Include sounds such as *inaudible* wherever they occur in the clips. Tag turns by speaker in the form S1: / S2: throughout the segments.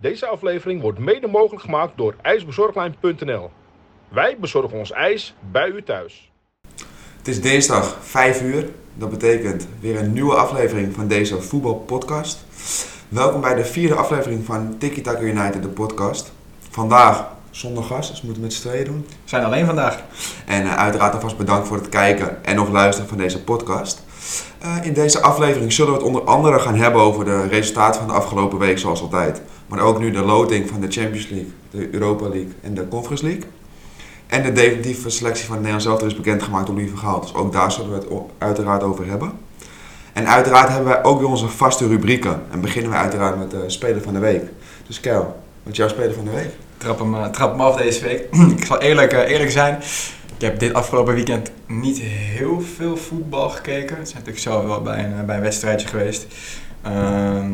S1: Deze aflevering wordt mede mogelijk gemaakt door ijsbezorglijn.nl. Wij bezorgen ons ijs bij u thuis.
S2: Het is dinsdag 5 uur. Dat betekent weer een nieuwe aflevering van deze voetbalpodcast. Welkom bij de vierde aflevering van Tiki Taka United, de podcast. Vandaag zonder gast, dus we moeten met z'n tweeën doen.
S3: We zijn alleen vandaag.
S2: En eh, uiteraard alvast bedankt voor het kijken en of luisteren van deze podcast. Eh, in deze aflevering zullen we het onder andere gaan hebben over de resultaten van de afgelopen week, zoals altijd. Maar ook nu de loting van de Champions League, de Europa League en de Conference League. En de definitieve selectie van het Nederlands elftal is bekendgemaakt door Louis van Gaal. Dus ook daar zullen we het o- uiteraard over hebben. En uiteraard hebben wij ook weer onze vaste rubrieken. En beginnen we uiteraard met de Speler van de Week. Dus Kel, wat is jouw Speler van de Week?
S3: Trap hem, eh, trap hem af deze week. *clears throat* ik zal eerlijk, eh, eerlijk zijn. Ik heb dit afgelopen weekend niet heel veel voetbal gekeken. Het is natuurlijk zelf wel bij een, eh, bij een wedstrijdje geweest. Ehm,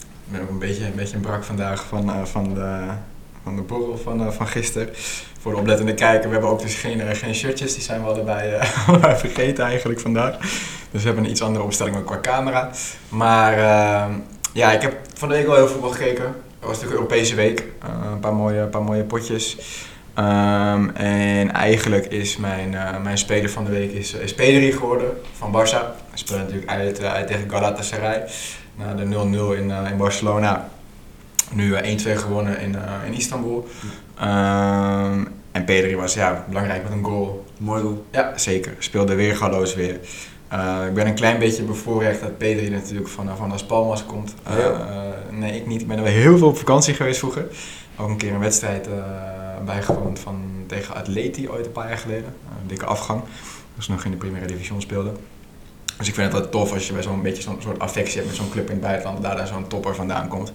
S3: ik ben ook een beetje, een beetje brak vandaag van, eh, van, de, van de borrel van, eh, van gisteren. Voor de oplettende kijker, we hebben ook dus geen, eh, geen shirtjes. Die zijn we al erbij eh, *laughs* vergeten eigenlijk vandaag. Dus we hebben een iets andere opstelling ook qua camera. Maar ehm, ja, ik heb van de week wel heel veel voetbal gekeken. Het was natuurlijk Europese week. Eh, een paar mooie, paar mooie potjes. Ehm, en eigenlijk is mijn, eh, mijn speler van de week is, is Pedri geworden van Barça. Hij speelde natuurlijk uit, eh, uit tegen Galatasaray. Na de 0-0 in, eh, in Barcelona. Nu eh, 1-2 gewonnen in, eh, in Istanbul. Ehm, en Pedri was ja, belangrijk met een goal.
S2: Mooi doel.
S3: Ja, zeker. Speelde weer galoos weer. Eh, ik ben een klein beetje bevoorrecht dat Pedri natuurlijk van, eh, van Las Palmas komt. Eh,
S2: Ja.
S3: eh, nee, ik niet. Ik ben er wel heel veel op vakantie geweest vroeger. Ook een keer een wedstrijd eh, bijgewoond van, tegen Atleti ooit een paar jaar geleden. Eh, een dikke afgang. Dat ze nog in de Primera Division speelden. Dus ik vind het altijd tof als je bij zo'n beetje zo'n soort affectie hebt met zo'n club in het buitenland. en Daar dan zo'n topper vandaan komt.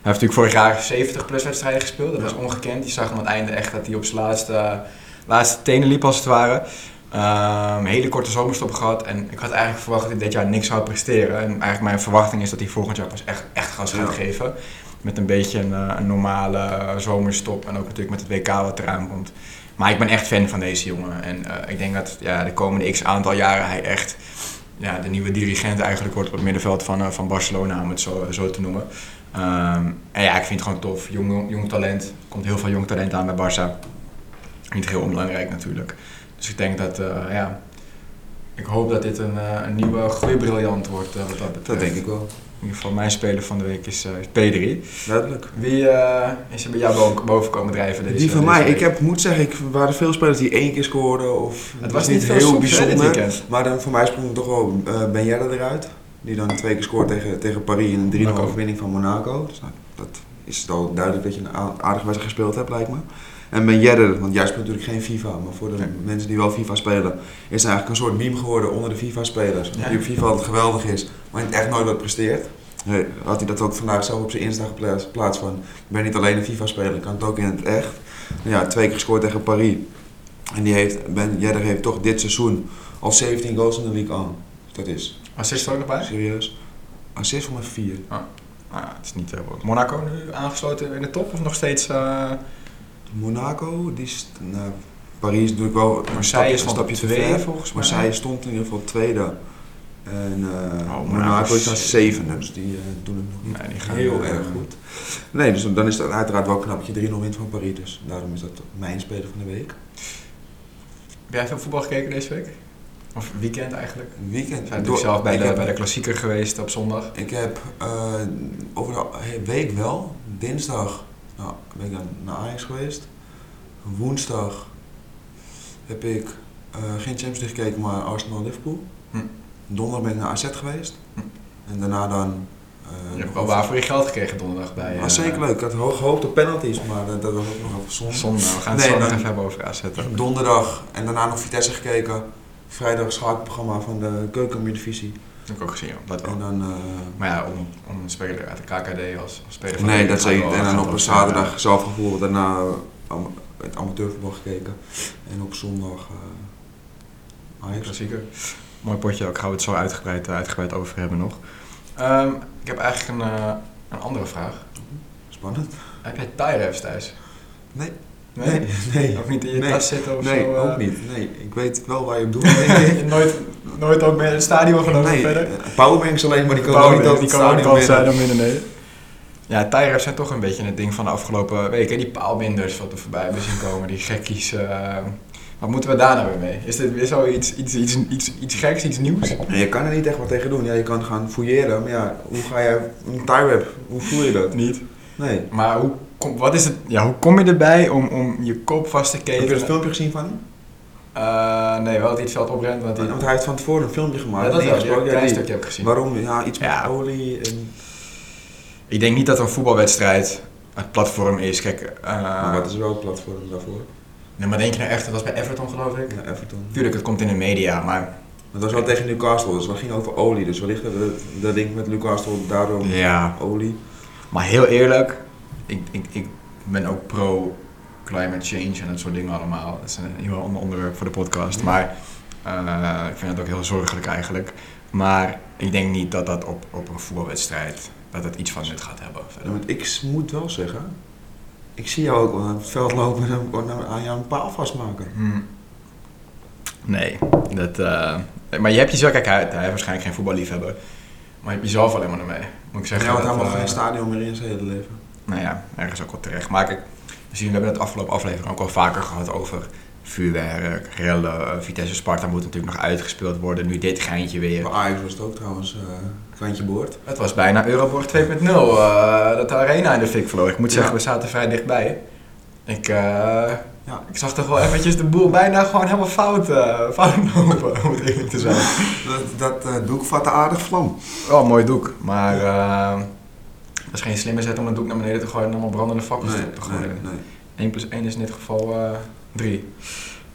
S3: Hij heeft natuurlijk vorig jaar 70 plus wedstrijden gespeeld. Dat was ongekend. Je zag hem aan het einde echt dat hij op zijn laatste, laatste tenen liep als het ware. Ehm, hele korte zomerstop gehad. En ik had eigenlijk verwacht dat hij dit jaar niks zou presteren. En eigenlijk mijn verwachting is dat hij volgend jaar pas echt, echt gas gaat
S2: Ja.
S3: geven. Met een beetje een, eh, een normale eh, zomerstop. En ook natuurlijk met het WK wat eraan komt. Maar ik ben echt fan van deze jongen. En eh, ik denk dat ja, de komende x aantal jaren hij echt ja, de nieuwe dirigent eigenlijk wordt op het middenveld van, eh, van Barcelona, om het zo, eh, zo te noemen. Ehm, en ja, ik vind het gewoon tof. Jong, jong talent. Er komt heel veel jong talent aan bij Barça. Niet heel onbelangrijk natuurlijk. Dus ik denk dat, eh, ja... Ik hoop dat dit een, eh, een nieuwe groeibriljant wordt eh, wat dat betreft.
S2: Dat denk ik wel.
S3: In ieder geval mijn speler van de week is, eh, is P3.
S2: Duidelijk.
S3: Wie eh, is er bij jou boven, boven komen drijven deze
S2: Die van
S3: deze
S2: mij,
S3: week?
S2: ik heb, moet zeggen, ik er waren veel spelers die één keer scoorden. Of
S3: Het was niet veel soeps, hè, dit weekend.
S2: Maar dan voor mij sprong toch wel eh Ben Yedder eruit. Die dan twee keer scoort tegen, tegen Paris en een 3-0
S3: Monaco.
S2: overwinning van Monaco. Dus nou, dat is het al duidelijk dat je een a- aardige wedstrijd gespeeld hebt, lijkt me. En Ben Yedder, want jij speelt natuurlijk geen FIFA, maar voor de
S3: Nee.
S2: mensen die wel FIFA spelen, is hij eigenlijk een soort meme geworden onder de FIFA-spelers.
S3: Ja.
S2: Die op FIFA altijd geweldig is, maar echt nooit wat presteert. Nee, had hij dat ook vandaag zelf op zijn Insta geplaatst plaats van... Ik ben niet alleen een FIFA-speler, ik kan het ook in het echt. Nou Ja, twee keer gescoord tegen Paris. En die heeft, Ben Yedder heeft toch dit seizoen al 17 goals in de league aan. Dat is
S3: Assist er ook nog bij?
S2: serieus. Assist voor mijn 4.
S3: Nou, ja, het is niet heel belangrijk. Monaco nu aangesloten in de top of nog steeds... eh,
S2: Monaco, die is... Nou, Paris is natuurlijk wel een stapje,
S3: Marseille is
S2: een
S3: nog
S2: stapje te
S3: tweede,
S2: ver.
S3: volgens mij.
S2: Marseille stond in ieder geval tweede. En eh,
S3: Oh, Monaco
S2: Monaco is dan
S3: is-
S2: zevende, dus die eh, doen het nog niet
S3: Nee, die gaan
S2: heel
S3: eh,
S2: erg goed. Nee, dus dan is dat uiteraard wel knap dat je 3-0 wint van Paris. Dus daarom is dat mijn speler van de week.
S3: Heb jij veel voetbal gekeken deze week? Of weekend eigenlijk? We
S2: Een weekend.
S3: zijn
S2: door-
S3: natuurlijk zelf bij
S2: ik
S3: de,
S2: heb-
S3: bij de klassieker geweest op zondag.
S2: Ik heb eh, over de he- week wel, dinsdag nou, ben ik dan naar Ajax geweest. Woensdag heb ik eh, geen Champions League gekeken, maar Arsenal-Liverpool.
S3: Hm.
S2: Donderdag ben ik naar AZ geweest.
S3: Hm.
S2: En daarna dan... eh,
S3: Je hebt wel waar voor je geld gekregen donderdag bij... eh,
S2: was zeker leuk. Ik had hoog gehoopt op penalties, maar dat, dat was ook nog even zonde.
S3: Zondag. We gaan het
S2: Nee,
S3: zondag
S2: dan-
S3: even hebben over AZ. ook.
S2: Donderdag en daarna nog Vitesse gekeken. Vrijdag schakelprogramma van de keukenmuurdivisie.
S3: Dat heb ik ook gezien, joh. dat wel.
S2: En dan... eh,
S3: Maar ja, om, om een speler uit de KKD als, als speler van de
S2: nee,
S3: week
S2: dat
S3: gaat
S2: zeker.
S3: wel-
S2: En
S3: gaat
S2: dan op
S3: wel
S2: een
S3: zijn,
S2: zaterdag zelf gevoel. Daarna am- het amateurvoetbal gekeken. En op zondag eh
S3: eh,
S2: Ajax.
S3: Klassieker. Mooi potje ook. Gaan we het zo uitgebreid, eh, uitgebreid over hebben nog. Ehm, ik heb eigenlijk een, eh, een andere vraag.
S2: Spannend.
S3: Heb jij Tyrefs thuis?
S2: Nee.
S3: *laughs* Nee?
S2: Nee,
S3: Ook niet in je
S2: Nee.
S3: tas zitten of
S2: nee
S3: zo? eh?
S2: ook *laughs* niet. Nee, ik weet wel waar je
S3: *laughs*
S2: op doet. denk ik.
S3: nooit, nooit ook meer in het stadion gelopen
S2: nee,
S3: verder?
S2: eh, powerbanks alleen, maar die komen ook niet
S3: Bouwman,
S2: op
S3: die
S2: het
S3: kan ook
S2: stadion
S3: niet
S2: binnen.
S3: dan binnen, nee. Ja, tie-ups zijn toch een beetje het ding van de afgelopen weken. Die paalbinders wat we voorbij hebben zien komen, die gekkies. eh, wat moeten we daar nou weer mee? Is dit weer zoiets iets, iets, iets, iets geks, iets nieuws?
S2: En je kan er niet echt wat tegen doen. Ja, je kan gaan fouilleren, maar ja, hoe ga je een tie-wrap, hoe voel je dat?
S3: Niet.
S2: Nee.
S3: Maar hoe kom, wat is het, ja, hoe kom je erbij om, om je kop vast te
S2: Heb je dat
S3: keten?
S2: filmpje gezien van hem?
S3: Eh, nee, wel dat hij het veld oprent. Want hij,
S2: Want hij heeft van tevoren een filmpje gemaakt.
S3: Ja, dat
S2: en
S3: wel, die heb ik
S2: ingesproken.
S3: een
S2: Ja, die-
S3: klein stukje heb ik gezien.
S2: Waarom? Ja, iets met
S3: Ja.
S2: olie en...
S3: Ik denk niet dat een voetbalwedstrijd het platform is. Kijk, eh,
S2: Maar wat is wel het platform daarvoor?
S3: nee, maar denk je nou echt, dat was bij Everton geloof ik?
S2: Ja, Everton.
S3: Tuurlijk, het komt in de media, maar
S2: Dat was wel tegen Newcastle, dus dat ging over olie. Dus wellicht dat dat ding met Newcastle daardoor
S3: ja.
S2: olie.
S3: Maar heel eerlijk, ik, ik, ik ben ook pro climate change en dat soort dingen allemaal. Dat is een heel ander onderwerp voor de podcast. Maar eh, ik vind het ook heel zorgelijk eigenlijk. Maar ik denk niet dat dat op, op een voetbalwedstrijd, dat het iets van nut gaat hebben.
S2: Ja,
S3: verder.
S2: want ik s- moet wel zeggen, ik zie jou ook aan het veld lopen en dan- dan aan jou een paal vastmaken.
S3: Hmm. Nee, dat, eh, maar je hebt jezelf, kijk, hij, hij is waarschijnlijk geen voetballiefhebber. Maar je hebt jezelf alleen maar ermee. Moet
S2: Hij
S3: ik zeggen.
S2: houdt
S3: dat,
S2: helemaal
S3: eh,
S2: geen stadion meer in zijn hele leven.
S3: nou ja, ergens ook wel terecht. Maar kijk, we zien- we hebben het afgelopen aflevering ook al vaker gehad over vuurwerk, rellen. eh, Vitesse Sparta moet natuurlijk nog uitgespeeld worden. Nu dit geintje weer.
S2: Bij Ajax was het ook trouwens eh kantje boord.
S3: Het was bijna Euroborg 2.0 eh, dat de arena in de fik vloog. Ik moet zeggen,
S2: Ja.
S3: we zaten vrij dichtbij. Ik, eh,
S2: Ja.
S3: ik zag toch wel eventjes de boel bijna gewoon helemaal fout, eh, fout lopen, *laughs* om *laughs* het eerlijk te zijn.
S2: *laughs* Dat, dat eh, doek vatte aardig vlam.
S3: Wel Oh, een mooi doek, maar eh, dat is geen slimme zet om een doek naar beneden te gooien en allemaal brandende vakkers
S2: Nee,
S3: te- te gooien.
S2: nee, nee.
S3: 1 plus 1 is in dit geval eh 3.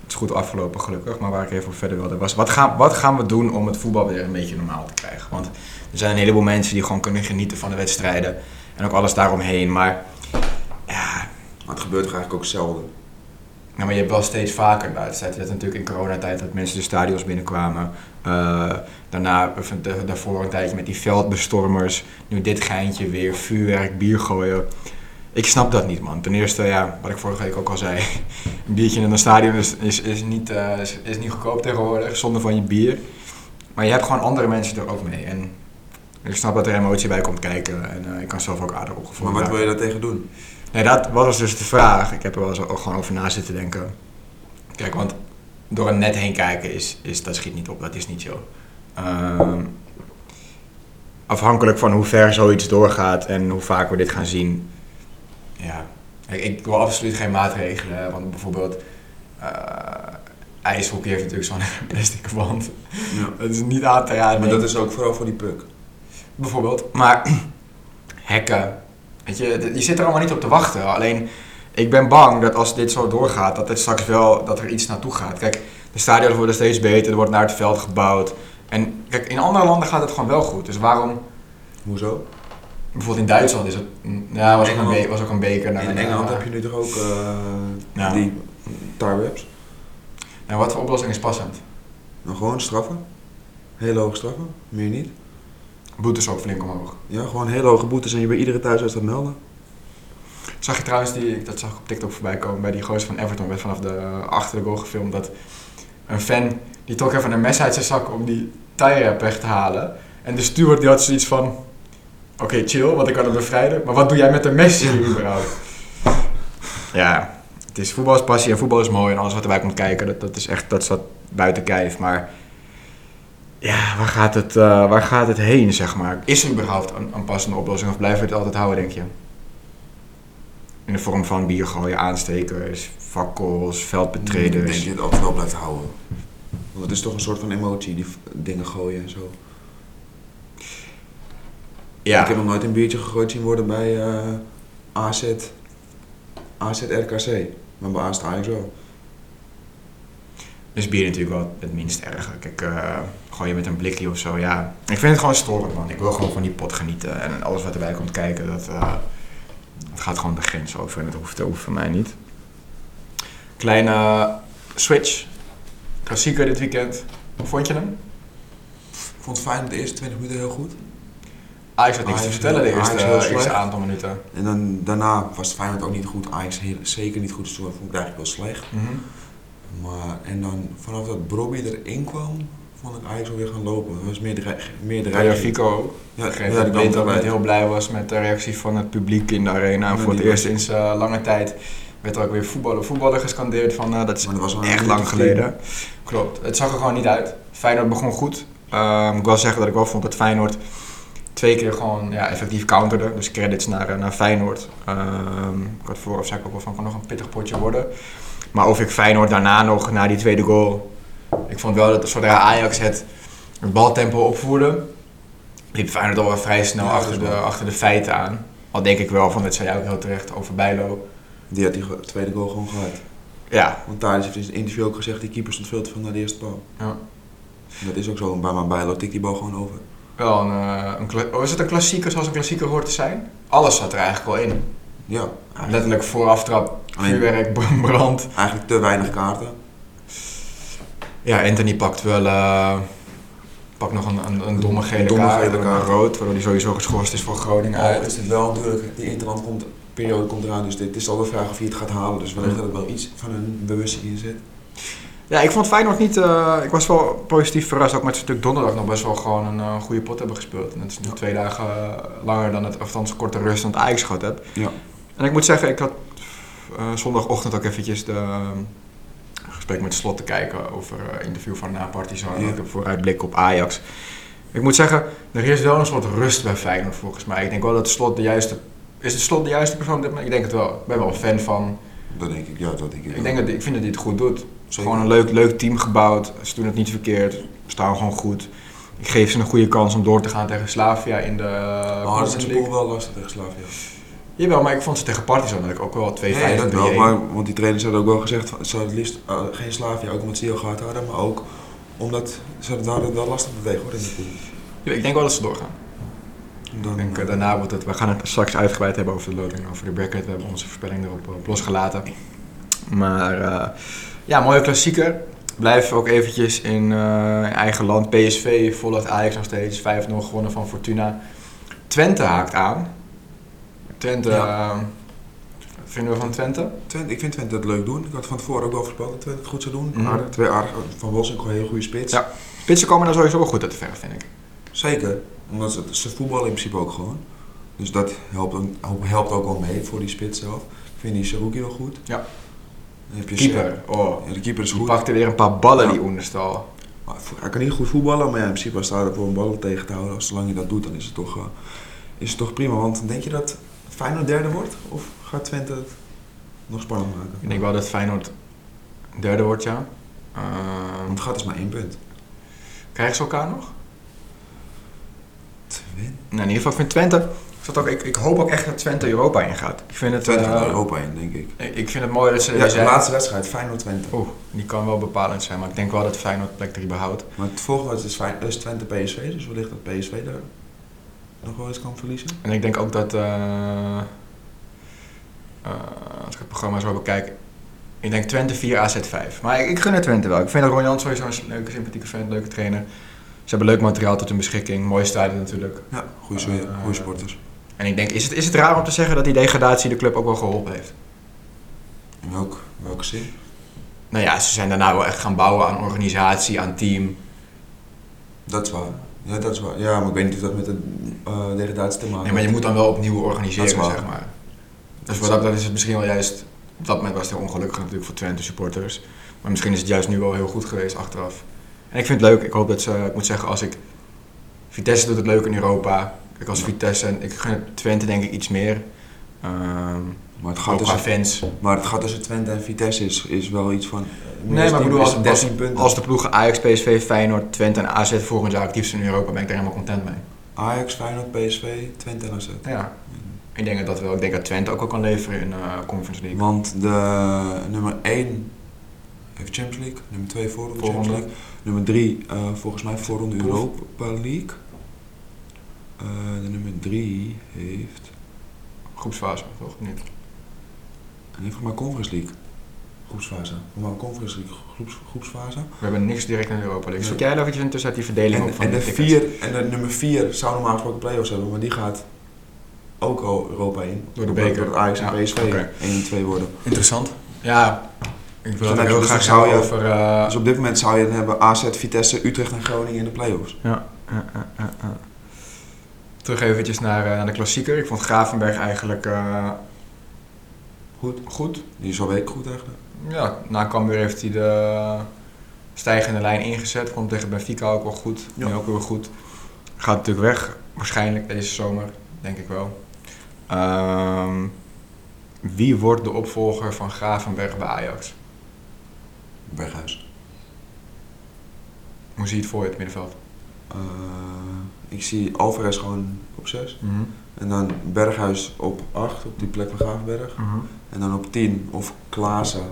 S3: Het is goed afgelopen, gelukkig. Maar waar ik even op verder wilde was... Wat gaan, wat gaan we doen om het voetbal weer een beetje normaal te krijgen? Want er zijn een heleboel mensen die gewoon kunnen genieten van de wedstrijden. En ook alles daaromheen. Maar, ja,
S2: Maar het gebeurt toch eigenlijk ook zelden.
S3: nou, maar je hebt wel steeds vaker... Nou, het werd natuurlijk in coronatijd dat mensen de stadions binnenkwamen. Eh, daarna, of de- daarvoor een tijdje met die veldbestormers. Nu dit geintje weer, vuurwerk, bier gooien. Ik snap dat niet, man. Ten eerste, ja, wat ik vorige week ook al zei. Een biertje in een stadion is, is, is, niet, eh, is, is niet goedkoop tegenwoordig, zonder van je bier. Maar je hebt gewoon andere mensen er ook mee. En ik snap dat er emotie bij komt kijken. En eh, ik kan zelf ook aardig
S2: Maar
S3: opgevoerd
S2: wat
S3: raken.
S2: wil je daar tegen doen?
S3: Nee, dat was dus de vraag. Ik heb er wel eens ook gewoon over na zitten denken. Kijk, want door een net heen kijken is, is dat schiet niet op. Dat is niet zo. Ehm, afhankelijk van hoe ver zoiets doorgaat en hoe vaak we dit gaan zien. Ja, Kijk, ik wil absoluut geen maatregelen. hè, Want bijvoorbeeld eh ijshockey heeft natuurlijk zo'n *laughs* plastic wand.
S2: Ja.
S3: Dat is niet aan te raden.
S2: Maar
S3: denk
S2: dat
S3: ik.
S2: is ook vooral voor die puk.
S3: Bijvoorbeeld. Maar *clears throat* hekken. Weet je, d- je zit er allemaal niet op te wachten. Alleen, ik ben bang dat als dit zo doorgaat, dat er straks wel dat er iets naartoe gaat. Kijk, de stadions worden steeds beter, er wordt naar het veld gebouwd. En kijk, in andere landen gaat het gewoon wel goed. Dus waarom,
S2: Hoezo?
S3: bijvoorbeeld in Duitsland is het, mm, ja, was ook een,
S2: Engeland.
S3: be- was ook een beker. naar
S2: In
S3: een,
S2: Engeland
S3: eh,
S2: heb je nu toch ook eh,
S3: Ja.
S2: die tarwebs?
S3: nou, wat voor oplossing is passend?
S2: Nou, gewoon straffen. Hele hoge straffen, meer niet.
S3: Boetes ook flink omhoog.
S2: Ja, gewoon hele hoge boetes en je bij iedere thuiswedstrijd melden.
S3: Zag je trouwens die, dat zag ik op TikTok voorbij komen, bij die gozer van Everton werd vanaf de eh, achter de goal gefilmd dat een fan die trok even een mes uit zijn zak om die tie-rap weg te halen. En de steward die had zoiets van, oké chill, want ik kan hem bevrijden, maar wat doe jij met een mes hier überhaupt? Ja, het is voetbal is passie en voetbal is mooi en alles wat erbij komt kijken, dat, dat is echt, dat staat buiten kijf, maar... Ja, waar gaat, het, eh, waar gaat het heen, zeg maar? Is er überhaupt een, een passende oplossing of blijven we het altijd houden, denk je? In de vorm van bier gooien, aanstekers, vakkels,
S2: Ik Mm, denk
S3: veldbetreders.
S2: je het altijd wel blijft houden. Want het is toch een soort van emotie, die v- dingen gooien en zo. Ik heb nog nooit een biertje gegooid zien worden bij eh AZ, AZRKC. Maar bij AZ Ajax wel.
S3: is Dus bier natuurlijk wel het minst erg. Kijk, eh gooi je met een blikje of zo, ja. Ik vind het gewoon storend, man. Ik wil gewoon van die pot genieten. En alles wat erbij komt kijken, dat, eh, dat gaat gewoon de grens over. En dat hoeft, dat hoeft voor mij niet. Kleine switch. Klassieker dit weekend. Hoe vond je hem?
S2: Ik vond het fijn de eerste 20 minuten heel goed.
S3: Ajax had niks te
S2: Ajax-
S3: vertellen de
S2: Ajax
S3: eerste,
S2: heel
S3: eerste
S2: slecht.
S3: aantal minuten.
S2: En dan, daarna was het Feyenoord ook niet goed. Ajax heel, zeker niet goed. Dus Mhm. toen vond ik het eigenlijk wel slecht. Maar, en dan vanaf dat Bobby erin kwam, vond ik vond ik Ajax alweer gaan lopen. Dat was meer dreig- meer
S3: Rayo
S2: dreiging.
S3: Fico ook.
S2: Ja,
S3: Ik begreep
S2: ja,
S3: dat ik weet
S2: dan
S3: dat ik niet
S2: gelijk.
S3: heel blij was met de reactie van het publiek in de arena. En
S2: Ja,
S3: voor het
S2: die
S3: eerst sinds eh, lange tijd werd er ook weer voetballer, voetballer gescandeerd van eh, dat is
S2: Maar dat was wel
S3: echt
S2: een
S3: lang
S2: minuut of
S3: geleden. Klopt, het zag er gewoon niet uit. Feyenoord begon goed. Ehm, ik wil zeggen dat ik wel vond dat Feyenoord twee keer gewoon ja, effectief counterde. Dus credits naar, eh, naar Feyenoord. Ehm ik had vooraf zei ik ook wel van kan nog een pittig potje worden. Maar of ik Feyenoord daarna nog, na die tweede goal... Ik vond wel dat zodra Ajax het, het baltempo opvoerde... liep Feyenoord al wel vrij snel
S2: Ja,
S3: achter,
S2: dat
S3: de,
S2: is wel.
S3: achter de feiten aan. Al denk ik wel, van dat zei jij ook heel terecht, over Bijlo.
S2: Die had die go- tweede goal gewoon gehad.
S3: Ja,
S2: Want Thadis heeft in zijn interview ook gezegd, die keeper stond veel te veel naar de eerste paal.
S3: Ja.
S2: En Dat is ook zo, maar maar Bijlo tikt die bal gewoon over.
S3: wel een, eh, een kla- oh, is het een klassieker zoals een klassieker hoort te zijn? Alles zat er eigenlijk al in.
S2: Ja,
S3: Letterlijk vooraftrap,
S2: alleen
S3: vuurwerk, *laughs* br- brand.
S2: eigenlijk te weinig kaarten.
S3: Ja, Anthony pakt wel eh, pakt nog een, een, een domme gele
S2: Domme
S3: kaart,
S2: gele
S3: en
S2: kaart.
S3: een rood, waardoor hij sowieso geschorst is voor Groningen
S2: Ja,
S3: uit.
S2: het is wel natuurlijk, die interland komt, periode komt eraan, dus dit is al de vraag of je het gaat halen. Dus wellicht
S3: Ja.
S2: dat er wel iets van een bewustzijn in zit.
S3: Ja, ik vond Feyenoord niet... eh, ik was wel positief verrast, ook met zijn stuk donderdag nog best wel gewoon een eh, goede pot hebben gespeeld. En dat is nu twee dagen eh, langer dan het, of althans korte rust dan het Ajax gehad heb.
S2: Ja.
S3: En ik moet zeggen, ik had eh, zondagochtend ook eventjes de... eh, gesprek met Slot te kijken over eh, interview van na Partizan.
S2: Ja.
S3: Ook een vooruitblik op Ajax. Ik moet zeggen, er is wel een soort rust bij Feyenoord volgens mij. Ik denk wel dat Slot de juiste... Is het Slot de juiste persoon? op dit moment? Ik denk het wel. Ik ben wel een fan van...
S2: Dat denk ik, ja, dat denk
S3: Ik, denk dat, ik vind dat hij het goed doet. Het is
S2: Zeker.
S3: gewoon een leuk, leuk team gebouwd. Ze doen het niet verkeerd. Ze staan gewoon goed. Ik geef ze een goede kans om door te gaan tegen Slavia in de
S2: Maar Oh, dat is
S3: Conference
S2: in de
S3: League.
S2: pool wel lastig tegen Slavia.
S3: Jawel, maar ik vond ze tegen Partizan dat ik ook wel 2-5
S2: Nee, dat wel,
S3: 3-1.
S2: maar, want die trainers hadden ook wel gezegd, van, ze hadden het liefst eh, geen Slavia, ook omdat ze die al gehad hadden, maar ook omdat ze het daar wel lastig bewegen hoor in de pool.
S3: Ja, Ik denk wel dat ze doorgaan.
S2: Dan,
S3: Ik denk eh, daarna wordt het. We gaan het straks uitgebreid hebben over de loting, over de bracket. We hebben onze voorspelling erop op losgelaten. Maar eh, ja, mooie klassieker. Blijf ook eventjes in, eh, in eigen land. PSV volgt Ajax nog steeds. 5-0 gewonnen van Fortuna. Twente haakt aan. Twente.
S2: Ja.
S3: eh, wat vinden we van Twente?
S2: Twente, ik vind Twente dat leuk doen. Ik had van tevoren ook wel voorspeld dat Twente het goed zou doen.
S3: Mhm.
S2: Aardig- twee aardige, van Wolfsink gewoon een heel goede spits.
S3: Ja. Spitsen komen daar sowieso wel goed uit de verf, vind ik.
S2: Zeker, omdat ze, ze voetballen in principe ook gewoon. Dus dat helpt, ook- helpt ook wel mee voor die spits zelf. Ik vind die Saruki wel goed.
S3: Ja.
S2: Dan heb je
S3: Keeper. Oh.
S2: Ja, de keeper is
S3: Die
S2: goed.
S3: pakte weer een paar ballen,
S2: Ja.
S3: die Oenerstal.
S2: Maar voor- hij kan niet goed voetballen, maar ja, in principe als daar voor een bal tegen te houden, als zolang je dat doet, dan is het toch, eh, is het toch prima. Want denk je dat Feyenoord derde wordt? Of gaat Twente het nog spannend maken?
S3: Ik denk wel dat Feyenoord derde wordt, ja. Ehm,
S2: Want het gaat dus maar één punt.
S3: Krijgen ze elkaar nog?
S2: Twente,
S3: Nou, in ieder geval, ik vind Twente... Ik, zat ook, ik, ik hoop ook echt dat Twente Europa ingaat. Ik vind het,
S2: Twente gaat
S3: eh,
S2: er Europa in, denk ik.
S3: ik ik vind het mooi dat ze er
S2: Ja,
S3: weer
S2: de
S3: zijn.
S2: laatste wedstrijd, Feyenoord-Twente.
S3: Oeh, die kan wel bepalend zijn, maar ik denk wel dat Feyenoord plek 3 behoudt.
S2: Maar het volgende is, Fey- is Twente-PSV, dus wellicht dat PSV daar nog wel eens kan verliezen.
S3: En ik denk ook dat... eh, eh, als ik het programma zo bekijk... Ik denk Twente 4, AZ 5. Maar ik, ik gun het Twente wel. Ik vind dat Ron Jans sowieso een leuke, sympathieke fan, leuke trainer. Ze hebben leuk materiaal tot hun beschikking. Mooie stadion natuurlijk.
S2: Ja, goede
S3: Eh,
S2: sporters.
S3: En ik denk, is het, is het raar om te zeggen dat die degradatie de club ook wel geholpen heeft?
S2: In welk, welke zin?
S3: Nou ja, ze zijn daarna wel echt gaan bouwen aan organisatie, aan team.
S2: Dat is waar. Ja, dat is waar. Ja, maar ik weet niet of dat met de eh degradatie te maken
S3: Nee, maar je moet dan wel opnieuw organiseren,
S2: Dat is waar.
S3: zeg maar. Dus wat dat betreft is het misschien wel juist... Op dat moment was het heel ongelukkig natuurlijk voor Twente supporters. Maar misschien is het juist nu wel heel goed geweest achteraf. En ik vind het leuk. Ik hoop dat ze... Ik moet zeggen, als ik... Vitesse doet het leuk in Europa. Ik als
S2: Ja.
S3: Vitesse... En ik gun het Twente denk ik iets meer. Ehm
S2: Maar het gaat
S3: ook qua
S2: tussen,
S3: fans.
S2: maar het gaat tussen Twente en Vitesse is, is wel iets van... eh,
S3: Nee, maar ik bedoel, als-
S2: 13 punten.
S3: Als de ploegen Ajax, PSV, Feyenoord, Twente en AZ volgend jaar actief zijn in Europa... ben ik daar helemaal content mee.
S2: Ajax, Feyenoord, PSV, Twente en AZ.
S3: Ja. Ik denk dat dat wel. Ik denk dat Twente ook wel kan leveren in eh Conference League.
S2: Want de nummer 1 heeft Champions League, nummer 2 voorronde Champions
S3: Volgende.
S2: League, nummer 3 volgens mij voorronde
S3: Proef.
S2: Europa League. Eh, de nummer 3 heeft,
S3: Groepsfase, toch? Niet.
S2: en heeft volgens mij Conference League. Groepsfase. Maar Conference League groeps, groepsfase.
S3: We hebben niks direct in de Europa League.
S2: Nee.
S3: Zoek jij daar eventjes intussen uit die verdeling op
S2: En,
S3: van
S2: en, de
S3: die tickets?
S2: vier, en de nummer 4 zou normaal gesproken play-offs hebben, maar die gaat ook al Europa in.
S3: Door de beker.
S2: Door Ajax en
S3: Ja,
S2: PSV.
S3: oké.
S2: 1 en 2 worden.
S3: Interessant. Ja, Ik
S2: Dus
S3: wil het
S2: dan heb je-
S3: heel
S2: dus dan
S3: graag
S2: zou
S3: hebben
S2: je-
S3: over... eh,
S2: Dus op dit moment zou je dan hebben AZ, Vitesse, Utrecht en Groningen in de play-offs.
S3: Eh, eh, eh, eh. Terug eventjes naar, eh, naar de klassieker. Ik vond Gravenberg eigenlijk eh,
S2: Goed.
S3: goed.
S2: Die is alweer goed eigenlijk.
S3: Ja, na Cambuur heeft hij de stijgende lijn ingezet. Vond hem tegen Benfica ook wel goed.
S2: Ja.
S3: Nu ook weer goed. Gaat natuurlijk weg, waarschijnlijk deze zomer. Denk ik wel. Ehm, wie wordt de opvolger van Gravenberg bij Ajax?
S2: Berghuis.
S3: Hoe zie je het voor je het middenveld?
S2: Eh, ik zie Alvarez gewoon op 6. En dan Berghuis op 8, op die plek van Gravenberg. En dan op 10 of Klaassen.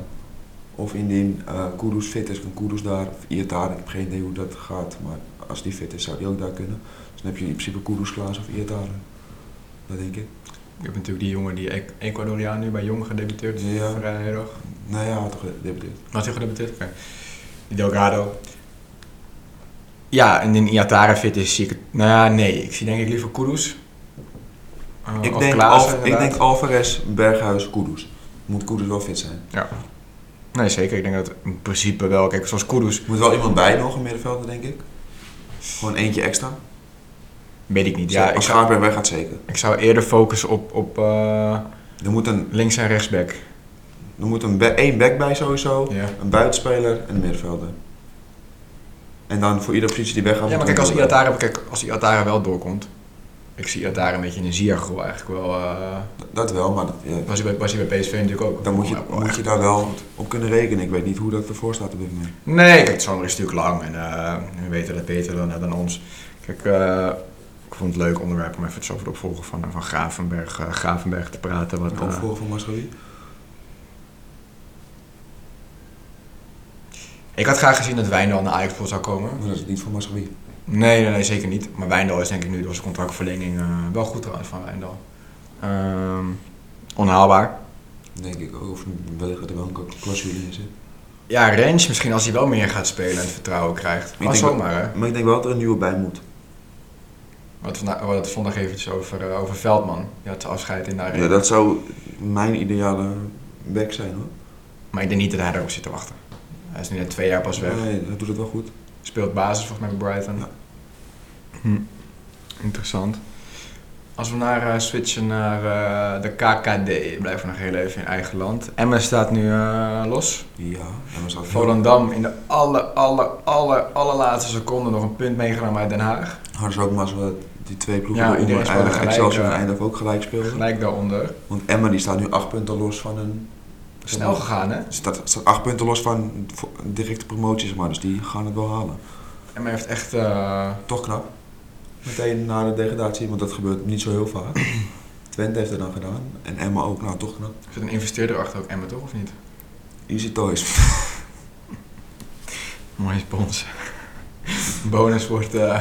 S2: Of indien eh Kudus fit is, kan Kudus daar. Of Iertaar, ik heb geen idee hoe dat gaat. Maar als die fit is, zou die ook daar kunnen. Dus dan heb je in principe Kudus, Klaassen of Iertaar. Dat denk ik.
S3: Je hebt natuurlijk die jongen, die Ec- Ecuadoriaan, nu bij Jong gedebuteerd.
S2: Ja.
S3: Vrijdag.
S2: Nou ja, toch gedebuteerd.
S3: Had hij gedebuteerd? Oké. Die Delgado. Ja, en in Iatara fit is zie ik het. Nou ja, nee. Ik zie denk ik liever Kudus. Eh,
S2: Ik
S3: of
S2: denk,
S3: Klaassen,
S2: Alv- ik
S3: inderdaad.
S2: denk Alvarez, Berghuis, Kudus. Moet Kudus wel fit zijn.
S3: Nee, zeker. Ik denk dat in principe wel. Kijk, zoals Kudus,
S2: Er moet wel iemand bij nog, een middenvelder, denk ik. Gewoon eentje extra.
S3: weet ik niet.
S2: Ja,
S3: Ja,
S2: Als
S3: ik
S2: ik
S3: zou,
S2: weg gaat, zeker.
S3: ik zou eerder focussen op, op eh,
S2: Er moet, een,
S3: links- en rechtsback.
S2: er moet een, ba- één back bij sowieso,
S3: Ja.
S2: een buitenspeler en een middenvelder. En dan voor iedere positie die weggaat...
S3: Ja, maar
S2: moet
S3: kijk, als
S2: er iemand
S3: Iatara, kijk, als Iatara wel doorkomt. Ik zie Iatara een beetje in een Ziyech-rol eigenlijk wel. eh,
S2: bij. Dat wel, maar dat- ja,
S3: was, hij bij, was hij bij PSV natuurlijk ook.
S2: dan moet je,
S3: Ja, wel
S2: moet
S3: echt
S2: je daar wel op kunnen rekenen. Ik weet niet hoe dat ervoor staat op dit moment.
S3: Nee, kijk, de zomer is natuurlijk lang en eh we weten dat beter dan, dan ons. Kijk, eh, ik vond het leuk onderwerp om even het over de opvolger van, van Gravenberg, eh, Gravenberg te praten. Wat,
S2: Een
S3: eh,
S2: opvolger van Masraoui?
S3: ik had graag gezien dat Wijndal naar Ajax zou komen.
S2: Maar dat is niet van Masraoui.
S3: Nee, nee, nee, zeker niet. Maar Wijndal is denk ik nu door zijn contractverlenging eh, wel goed trouwens van Wijndal. Ehm, onhaalbaar.
S2: Denk ik ook. Of wellicht dat er wel een klasje in zit.
S3: Ja, Rens misschien als hij wel meer gaat spelen en het vertrouwen krijgt. Maar
S2: denk
S3: zomaar hè.
S2: Maar ik denk wel dat er een nieuwe bij moet.
S3: Wat we hadden het zondag eventjes over, eh, over Veldman. Die had zijn afscheid in de arena.
S2: Ja, dat zou mijn ideale back zijn hoor.
S3: Maar ik denk niet dat hij daarop zit te wachten. Hij is nu net twee jaar pas weg.
S2: Nee, dat doet het wel goed.
S3: Speelt basis volgens mij bij Brighton.
S2: Ja.
S3: Hm. Interessant. Als we naar eh, switchen naar eh, de KKD, blijven we nog heel even in eigen land. Emmen staat nu eh, los.
S2: Ja, en we zouden
S3: Volendam in de aller, aller, aller, allerlaatste seconde nog een punt meegenomen uit Den Haag.
S2: hadden ze ook maar zo die twee ploegen
S3: Ja,
S2: ja, onder
S3: iedereen speelde
S2: eigenlijk
S3: gelijk,
S2: Excelsior en
S3: eh,
S2: Eindhoven ook gelijk speelden.
S3: Gelijk daaronder.
S2: Want Emma die staat nu acht punten los van een...
S3: Snel gegaan hè?
S2: Staat, staat acht punten los van vo- directe promotie zeg maar, dus die gaan het wel halen.
S3: Emmen heeft echt... eh,
S2: Toch knap. Meteen na de degradatie, want dat gebeurt niet zo heel vaak. *clears throat* Twente heeft dat dan gedaan en Emma ook, nou toch knap.
S3: er zit een investeerder achter ook Emmen toch of niet?
S2: Easy toys. *laughs*
S3: Mooie spons. Bonus wordt, eh,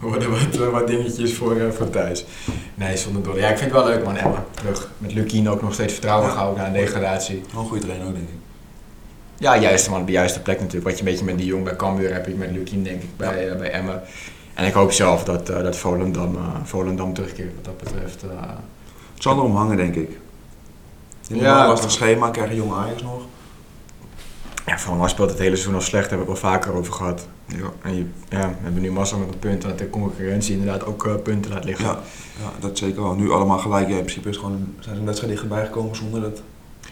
S3: worden wat, eh, wat dingetjes voor, eh, voor thuis. Nee, zonder dolle. Ja, ik vind het wel leuk man, Emma. Terug. Met Lukien ook nog steeds vertrouwen
S2: Ja.
S3: gehouden na een degradatie.
S2: Gewoon een goede trainer ook denk ik.
S3: Ja, juist man, op de juiste plek natuurlijk. Wat je een beetje met die jong bij Cambuur heb ik met Lukien denk ik bij, eh, bij Emma. En ik hoop zelf dat, eh, dat Volendam, eh, Volendam terugkeert wat dat betreft. eh.
S2: Het zal erom hangen denk ik.
S3: Ja.
S2: Ja, een lastig schema, krijgen jonge Ajax nog.
S3: Ja, Volendam speelt het hele seizoen al slecht, daar hebben we het al vaker over gehad. Ja. En je, ja, we hebben nu massa met een punt en dat de concurrentie inderdaad ook eh, punten laat liggen.
S2: Ja, ja, dat zeker wel. Nu allemaal gelijk. Ja, in principe is gewoon, zijn ze een wedstrijd dichterbij gekomen zonder dat...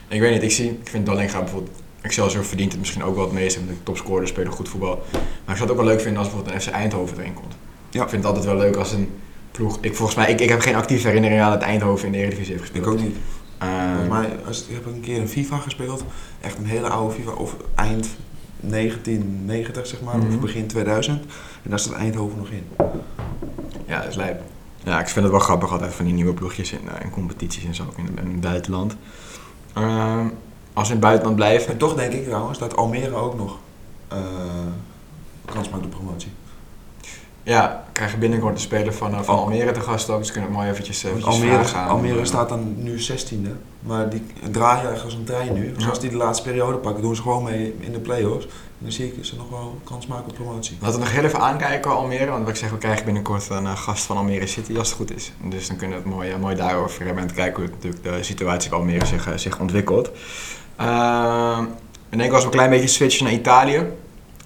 S3: Ik weet niet, ik zie, ik vind Dallinga bijvoorbeeld, Excelsior verdient het misschien ook wel het meeste, want de topscorers spelen goed voetbal. Maar ik zou het ook wel leuk vinden als bijvoorbeeld een FC Eindhoven erin komt.
S2: Ja.
S3: Ik vind het altijd wel leuk als een ploeg, ik, volgens mij, ik, ik heb geen actieve herinnering aan dat Eindhoven in de Eredivisie heeft gespeeld.
S2: Ik ook niet.
S3: Ehm,
S2: Volgens mij als, ik heb een keer een FIFA gespeeld. Echt een hele oude FIFA. Of eind 1990 zeg maar.
S3: Mhm.
S2: Of begin 2000. En daar staat Eindhoven nog in.
S3: Ja, dat is lijp. Ja, ik vind het wel grappig altijd van die nieuwe ploegjes in, eh, in competities en zo, in, in het buitenland. Ehm, als we in het buitenland blijven,
S2: En toch denk ik trouwens dat Almere ook nog eh, kans maakt op promotie.
S3: ja, krijgen binnenkort de speler van, eh, van
S2: Al-
S3: Almere te gast ook, dus kunnen we mooi eventjes,
S2: Want
S3: eventjes
S2: Oh. Almere,
S3: vragen aan- eh,
S2: Almere staat dan nu 16e. Maar die draaien echt als een trein nu. Dus
S3: Ja.
S2: als die de laatste periode pakken, doen ze gewoon mee in de play-offs. En dan zie ik ze nog wel kans maken op promotie.
S3: Laten we nog heel even aankijken Almere, want wat ik zeg, we krijgen binnenkort een eh, gast van Almere City als het goed is. Dus dan kunnen we het mooi, eh, mooi daarover hebben en te kijken hoe natuurlijk de situatie bij Almere zich, eh, zich ontwikkelt. Ehm, Ik denk als we een klein beetje switchen naar Italië.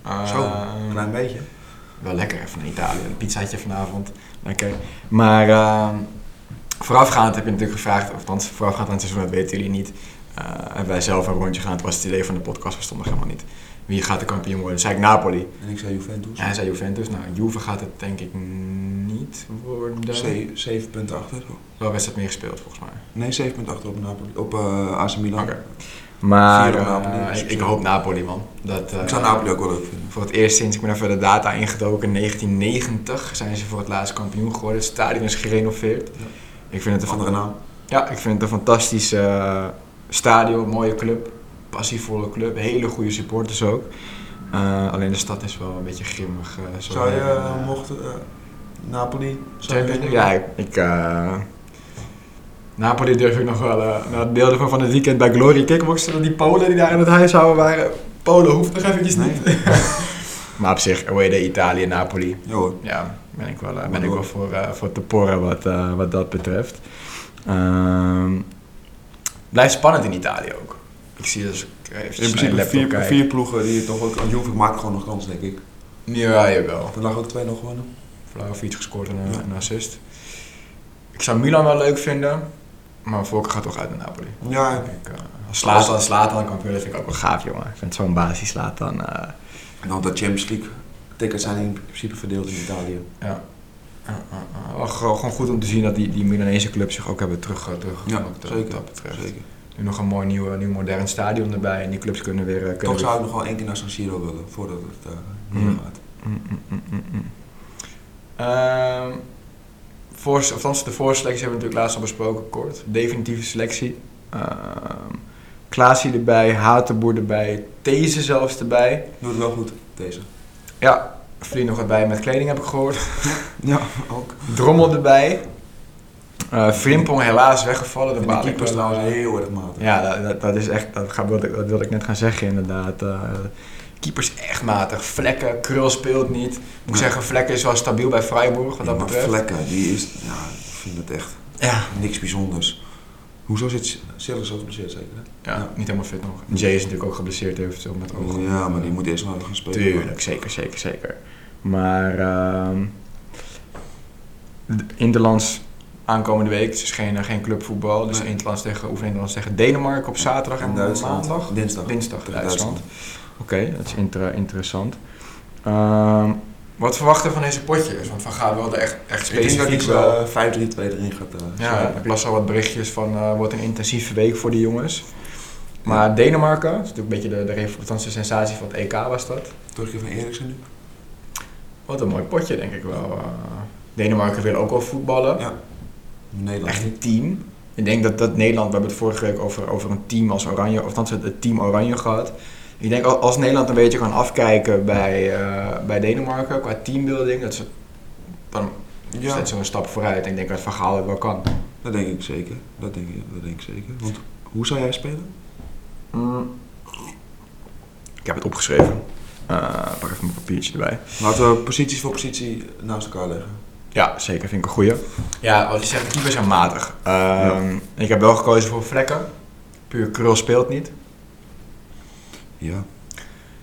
S3: Eh,
S2: Zo, een klein beetje.
S3: Wel lekker even naar Italië, een pizzaatje vanavond. Lekker. Maar ehm, voorafgaand heb je natuurlijk gevraagd, of althans voorafgaand aan het seizoen, dat weten jullie niet. eh, hebben wij zelf een rondje gedaan. Het was het idee van de podcast, we stonden helemaal niet. Wie gaat de kampioen worden? Zei ik Napoli.
S2: En ik zei Juventus.
S3: Ja, hij zei Juventus. Nou, Juve gaat het denk ik niet worden.
S2: Ze- Zeven punten achter.
S3: Wel wedstrijd meer gespeeld volgens mij.
S2: Nee, zeven punten achter op, Napoli, op eh, AC Milan.
S3: Oké. Maar
S2: Vier op Napoli,
S3: eh,
S2: dus
S3: ik, ik hoop Napoli man. Dat, eh,
S2: Ik zou Napoli ook wel leuk vinden.
S3: Voor het eerst sinds ik ben even de data ingedoken, in 1990 zijn ze voor het laatst kampioen geworden. Het stadion is gerenoveerd.
S2: Ja.
S3: Ik vind het een
S2: Een andere naam.
S3: Ja, ik vind het een fantastisch eh, stadion, mooie club, passievolle club, hele goede supporters ook. Eh, alleen de stad is wel een beetje grimmig. eh, zo
S2: Zou je,
S3: even,
S2: eh,
S3: eh,
S2: mocht eh, Napoli... Zou je winnen?
S3: Champions League? Ja, ik... ik eh, Napoli durf ik nog wel... eh naar het beelden van van het weekend bij Glory Kickboxen... dat die Polen die daar in het huishouden waren... Polen hoeft nog eventjes
S2: Nee.
S3: niet. *laughs* maar op zich, away day Italië, Napoli...
S2: Ja hoor.
S3: Ja, ben ik wel, eh, ben ik wel voor, eh, voor te porren wat, eh, wat dat betreft. Ehm, blijft spannend in Italië ook. Ik zie dus...
S2: In principe vier, vier ploegen die het toch ook... want Juve maakt gewoon nog kans, denk ik.
S3: Ja, jawel.
S2: Er lag ook 2-0 gewonnen.
S3: Vlaovic gescoord en een,
S2: Ja.
S3: een assist. Ik zou Milan wel leuk vinden, maar Volker gaat toch uit naar Napoli.
S2: Ja,
S3: Ik, eh, als Slatan, Slatan kampioen, dat vind ik ook wel gaaf, jongen. Ik vind zo'n basis Slatan. eh
S2: en dan dat Champions League tickets zijn in principe verdeeld in Italië.
S3: eh, eh, eh, wel gewoon gewoon goed om te zien dat die, die Milanese clubs zich ook hebben terug, eh, teruggekomen
S2: Ja,
S3: wat dat-
S2: zeker.
S3: dat betreft.
S2: Zeker.
S3: Nu nog een mooi nieuw, eh, nieuw modern stadion erbij en die clubs kunnen weer... eh, Kunnen
S2: Toch
S3: weer-
S2: zou ik nog wel één keer naar San Siro willen, voordat het eh
S3: Hmm.
S2: neergaat. gaat.
S3: Mm, mm, mm, mm, mm. Ehm, voor, of althans, de voorselectie hebben we natuurlijk laatst al besproken, kort. Definitieve selectie. Ehm Klaasie erbij, Hatenboer erbij, These zelfs erbij.
S2: Doe het wel goed,
S3: *laughs*
S2: deze.
S3: Ja, Vlie nog erbij met kleding heb ik gehoord.
S2: Ja, ook.
S3: Drommel erbij. Eh Frimpong helaas weggevallen.
S2: En de
S3: de baal ik
S2: keeper is
S3: wel,
S2: trouwens
S3: eh,
S2: heel erg matig.
S3: Ja, dat, dat, dat is echt, dat, ga, wilde, ik- dat wilde ik net gaan zeggen inderdaad. Eh, keepers echt matig. Vlekken, Krul speelt niet. Ik moet
S2: Ja.
S3: zeggen, Vlekken is wel stabiel bij Freiburg wat
S2: Ja,
S3: dat
S2: maar
S3: betreft.
S2: Vlekken, die is... Ja, ik vind het echt
S3: Ja.
S2: niks bijzonders. Hoezo zit Sillis ook geblesseerd zeker? hè?
S3: ja,
S2: Ja.
S3: niet helemaal fit nog. Jay is natuurlijk ook geblesseerd eventueel
S2: Oh,
S3: met ogen.
S2: Ja, maar die moet eerst nog even gaan spelen.
S3: Tuurlijk, zeker, zeker, zeker. Maar ehm Interlands aankomende week, dus geen, geen clubvoetbal. Dus
S2: Nee.
S3: Interlands tegen, oefen Interlands tegen Denemarken op zaterdag en,
S2: En Duitsland.
S3: maandag.
S2: Dinsdag.
S3: Dinsdag
S2: Tegen
S3: Duitsland. Oké, dat is inter- interessant. Ehm, wat verwachten we van deze potjes? Want Van Gaal wilde echt, echt
S2: Ik denk dat
S3: specifiek
S2: hij
S3: wel...
S2: wel 5-3-2 erin gaat. eh,
S3: ja,
S2: spelen.
S3: ik las al wat berichtjes van eh, wordt een intensieve week voor de jongens. Maar Denemarken, dat is natuurlijk een beetje de, de, rev- althans de sensatie van het EK was dat.
S2: Terugkeer van Eriksen nu.
S3: Wat een mooi potje denk ik wel. eh. Denemarken wil ook wel voetballen.
S2: Ja. Nederland.
S3: Echt een team. Ik denk dat, dat Nederland, we hebben het vorige week over, over een team als Oranje, of althans het- het team Oranje gehad. Ik denk al- als Nederland een beetje kan afkijken bij, eh, bij Denemarken qua teambuilding, dat ze dan
S2: Ja,
S3: zet ze een stap vooruit. Ik denk dat Van Gaal het wel kan.
S2: dat denk ik zeker. Dat denk ik, dat denk ik zeker. Want hoe zou jij spelen?
S3: Mm. Ik heb het opgeschreven. Eh, pak even mijn papiertje erbij.
S2: Laten we positie voor positie naast elkaar leggen.
S3: Ja, zeker. Vind ik een goeie. Ja, wat je zegt, de keepers zijn matig. Ehm, Ik heb wel gekozen voor Vlekken. Puur Krul speelt niet.
S2: Ja.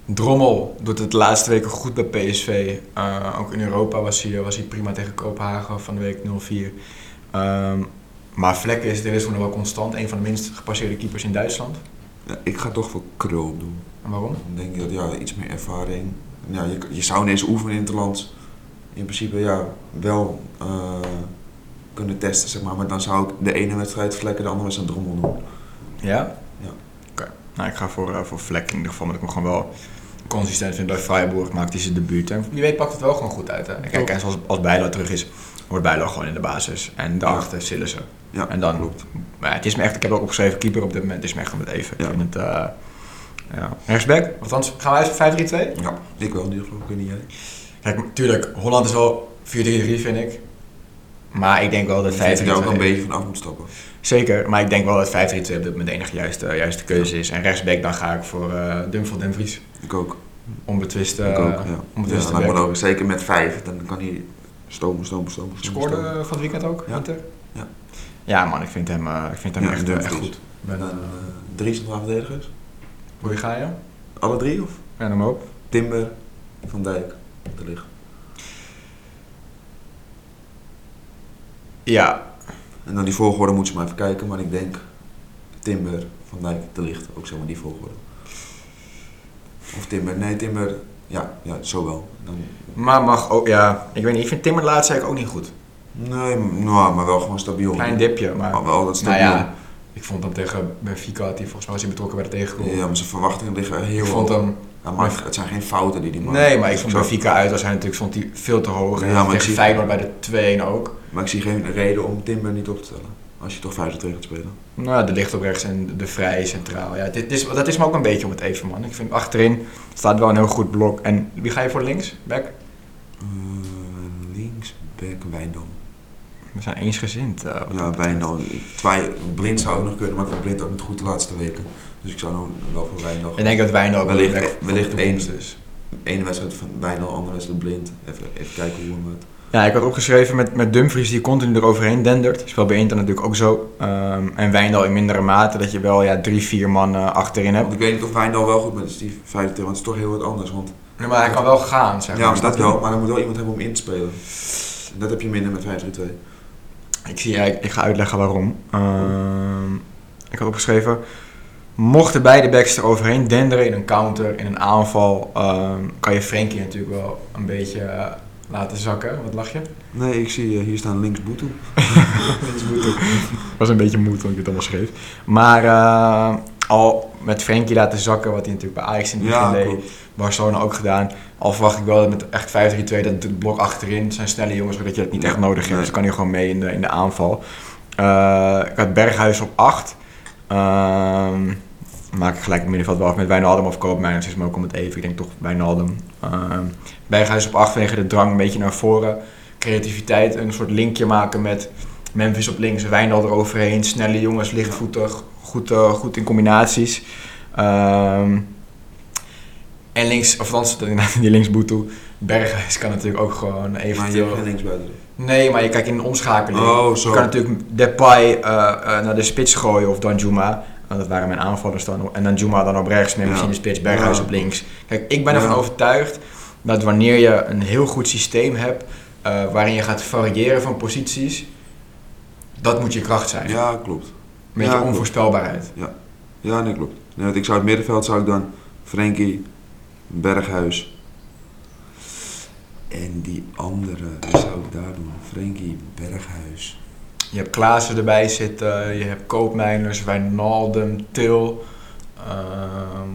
S3: Drommel doet het de laatste weken goed bij PSV. Eh, ook in Europa was hij, was hij prima tegen Kopenhagen van de week 0-4. Ehm, maar Vlekken is dit is nog wel constant. Een van de minst gepasseerde keepers in Duitsland.
S2: Ja, Ik ga toch voor Krul doen.
S3: En waarom?
S2: Dan denk ik dat ja, iets meer ervaring. Ja, je, je zou ineens oefenen in het land. In principe ja, wel eh, kunnen testen, zeg maar. Maar dan zou ik de ene wedstrijd vlekken, de andere wedstrijd drommel doen.
S3: Ja?
S2: Ja.
S3: Oké. Nou, ik ga voor, eh, voor Vlek in ieder geval, omdat ik hem gewoon wel consistent vind. Bij Freiburg maakt hij zijn debuut. En wie weet pakt het wel gewoon goed uit. Hè? Kijk, en zoals als Bijlo terug is, wordt Bijlo gewoon in de basis. En daarachter zullen ze.
S2: Ja,
S3: en dan, Maar het is me echt, ik heb ook opgeschreven, keeper op dit moment het is me echt om het even.
S2: Ja.
S3: Ik vind het, eh ja. Rechtsback, althans, gaan wij uit voor 5-3-2?
S2: Ja, ik wel in ieder geval. Ik weet niet jij.
S3: Kijk, natuurlijk, Holland is wel 4-3-3 vind ik. Maar ik denk wel dat 5-3-2...
S2: Ik vind dat je daar ook wel een beetje van af moet stappen.
S3: Zeker, maar ik denk wel dat 5-3-2 op dit moment de enige juiste, juiste keuze is. En rechtsback dan ga ik voor eh Dumfriel Den Vries.
S2: Ik ook.
S3: Onbetwist.
S2: ik ook,
S3: eh
S2: ja.
S3: om het
S2: Ja,
S3: eens te
S2: lijkt me
S3: werken.
S2: ook. Zeker met vijf, dan kan hij stomen, stomen, stomen. stomen,
S3: scoorde eh,
S2: stomen.
S3: van het weekend ook,
S2: Ja.
S3: Inter.
S2: Ja.
S3: Ja, man, ik vind hem, eh, ik vind hem
S2: Ja,
S3: echt,
S2: Dumfries.
S3: echt goed.
S2: En
S3: Ben, eh,
S2: dan eh, drie centrale verdedigers.
S3: hoe ga je?
S2: Alle drie? Of?
S3: Ja, noem maar op.
S2: Timber, Van Dijk, De Ligt.
S3: Ja,
S2: En dan die volgorde moet ze maar even kijken, maar ik denk Timber, Van Dijk, De Ligt. Ook zomaar die volgorde. Of Timber, nee Timber, ja, ja zo wel. Dan,
S3: maar mag ook, ja. Ik weet niet, ik vind Timmer laatst eigenlijk ook niet goed.
S2: nee, m- nou, maar wel gewoon stabiel.
S3: Klein dipje, maar...
S2: Maar wel Oh, dat
S3: nou
S2: stabiel.
S3: ja, ik vond hem tegen Benfica, had hij volgens mij was hij betrokken bij de tegengoal.
S2: Ja, maar zijn verwachtingen liggen heel
S3: ik vond
S2: hoog.
S3: hem...
S2: Ja, maar het zijn geen fouten die die man
S3: Nee, maar ik vond
S2: Zo-
S3: Benfica uit, was hij natuurlijk stond hij veel te hoog.
S2: Ja,
S3: En
S2: maar ik
S3: tegen
S2: zie-
S3: Feyenoord bij de 2 ook.
S2: Maar ik zie geen reden om Timber niet op te stellen. Als je toch 25 gaat spelen.
S3: Nou, de licht op rechts en de vrij centraal. Ja, dit is, dat is me ook een beetje om het even, man. Ik vind achterin staat wel een heel goed blok. En wie ga je voor links? Back?
S2: Eh, links, back, Wijndal.
S3: We zijn eensgezind. eh, wat
S2: Ja,
S3: dat betreft.
S2: Wijndal. Twaai- Blind zou ook nog kunnen, maar ik vond Blind ook niet goed de laatste weken. Dus ik zou nou wel voor Wijndal.
S3: Ik denk dat Wijndal ook
S2: Wellicht-
S3: een back voor dus.
S2: wellicht
S3: de toekomst
S2: één.
S3: is.
S2: Eén wedstrijd van Wijndal, andere wedstrijd Blind. Even, even kijken hoe hem het...
S3: Ja, ik had opgeschreven met, met Dumfries die continu eroverheen dendert. Speelt bij Inter natuurlijk ook zo. Ehm, en Wijndal in mindere mate. Dat je wel ja, drie, vier man eh, achterin hebt.
S2: Want ik weet niet of Wijndal wel goed met is, die 25, want het is toch heel wat anders. Want,
S3: Nee, maar hij kan wel gaan, zeg
S2: ja,
S3: maar.
S2: maar dat wel, maar dan moet wel iemand hebben om in te spelen. En Dat heb je minder met 5-3-2.
S3: Ik, zie, ja, ik, ik ga uitleggen waarom. Ehm, ik had opgeschreven... Mochten beide backs eroverheen denderen in een counter, in een aanval... ehm, kan je Frenkie natuurlijk wel een beetje eh, laten zakken. Wat lach je?
S2: Nee, ik zie eh, hier staan links *laughs* Boetu.
S3: was een beetje moed toen ik het allemaal schreef. Maar eh, al met Frenkie laten zakken, wat hij natuurlijk bij Ajax in het begin
S2: Ja,
S3: deed...
S2: klopt.
S3: Barcelona ook gedaan. Al verwacht ik wel dat met echt 5-3-2 dat het blok achterin zijn snelle jongens, zodat je dat niet echt
S2: Nee,
S3: nodig hebt.
S2: nee.
S3: Dus kan hij gewoon mee in de, in de aanval. Eh, ik had Berghuis op 8. Ehm, maak ik gelijk het middenveld wel af met Wijnaldum of Koopmeiners is me ook om het even. Ik denk toch Wijnaldum. Ehm Berghuis op 8 vanwege de drang een beetje naar voren. Creativiteit, een soort linkje maken met Memphis op links, Wijndal eroverheen. Snelle jongens, lichtvoetig, goed, eh, goed in combinaties. Ehm, en links, of althans, *laughs* die linksboetel. Berghuis kan natuurlijk ook gewoon
S2: Maar je
S3: eventueel...
S2: hebt geen links buiten.
S3: Nee, maar je kijkt in de omschakeling.
S2: Oh, zo.
S3: Je kan natuurlijk Depay eh, eh, naar de spits gooien of Danjuma. Want dat waren mijn aanvallers dan. En Danjuma dan op rechts, Memphis
S2: Ja.
S3: in de spits, Berghuis
S2: Ja.
S3: op links. Kijk, ik ben ervan
S2: Ja.
S3: overtuigd dat wanneer je een heel goed systeem hebt... eh, waarin je gaat variëren van posities... dat moet je kracht zijn.
S2: Ja, klopt.
S3: Met
S2: Ja,
S3: je
S2: klopt.
S3: onvoorspelbaarheid.
S2: Ja, nee, klopt. Nee, want ik zou het middenveld zou ik dan Frenkie, Berghuis en die andere wie zou ik daar doen. Frenkie, Berghuis.
S3: Je hebt Klaassen erbij zitten, je hebt Koopmeiners, Wijnaldum, Til... ehm,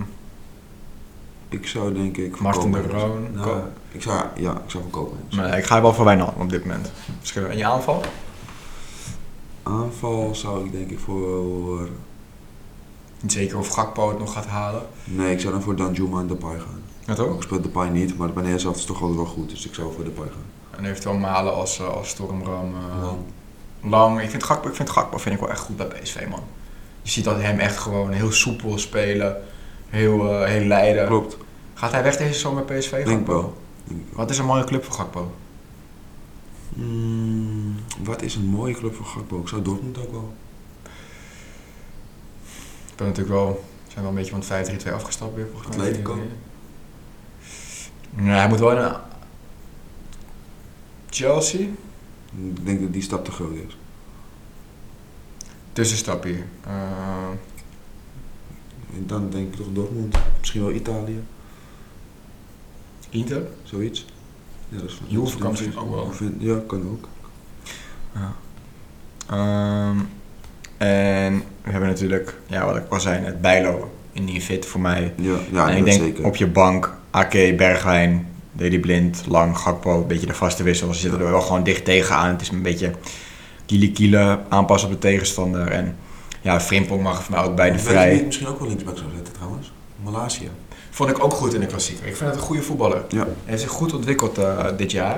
S2: Ik zou denk ik voor
S3: Martin de
S2: Koopmeiners-
S3: Roon,
S2: Nou,
S3: Ko-
S2: ik zou ja, ik zou voor Koopmeiners.
S3: maar ik ga wel voor Wijnaldum op dit moment. Verschillen. En je aanval?
S2: Aanval zou ik denk ik voor
S3: Niet zeker of Gakpo het nog gaat halen.
S2: nee, ik zou dan voor Danjuma en Depay gaan.
S3: Ja,
S2: Ook speelt Depay niet, maar de Nederlands zelf is toch altijd wel goed, dus ik zou voor Depay gaan.
S3: En eventueel Malen als, eh, als stormram. eh,
S2: Dan-
S3: Lang. Ik vind Gakpo, ik vind Gakpo vind ik wel echt goed bij PSV, man. Je ziet dat hem echt gewoon heel soepel spelen. Heel, eh, heel leiden.
S2: Klopt.
S3: Gaat hij weg deze zomer bij PSV?
S2: Denk ik
S3: Gakpo?
S2: wel. Denk ik wel.
S3: Wat is een mooie club voor Gakpo?
S2: Mm, wat is een mooie club voor Gakpo? Ik zou Dortmund ook wel.
S3: Ik ben natuurlijk wel... zijn wel een beetje van het 5-3-2 afgestapt weer, volgens mij.
S2: Atletico.
S3: Nee, hij moet wel naar... Chelsea?
S2: Ik denk dat die stap te groot is.
S3: Tussenstap hier. Eh,
S2: En dan denk ik toch Dortmund. Misschien wel Italië,
S3: Inter?
S2: zoiets. Ja, dat is van
S3: Juve kan misschien ook wel.
S2: Of in- Ja, kan ook.
S3: Ehm, en we hebben natuurlijk, ja, wat ik al zei, het bijlo in die fit voor mij.
S2: Ja, ja
S3: en
S2: dat
S3: ik denk
S2: zeker.
S3: op je bank, AK, Bergwijn, Deli Blind, Lang, Gakpo, een beetje de vaste wissels. Ze zitten er wel gewoon dicht tegenaan. Het is een beetje kiele kiele aanpassen op de tegenstander. En ja, Frimpong mag voor mij ook bij de
S2: Weet je wie
S3: vrij.
S2: ik misschien ook wel linksback zou zetten trouwens? Malasia.
S3: Vond ik ook goed in de klassieker. Ik vind het een goede voetballer.
S2: Ja.
S3: Hij heeft zich goed ontwikkeld eh, dit jaar.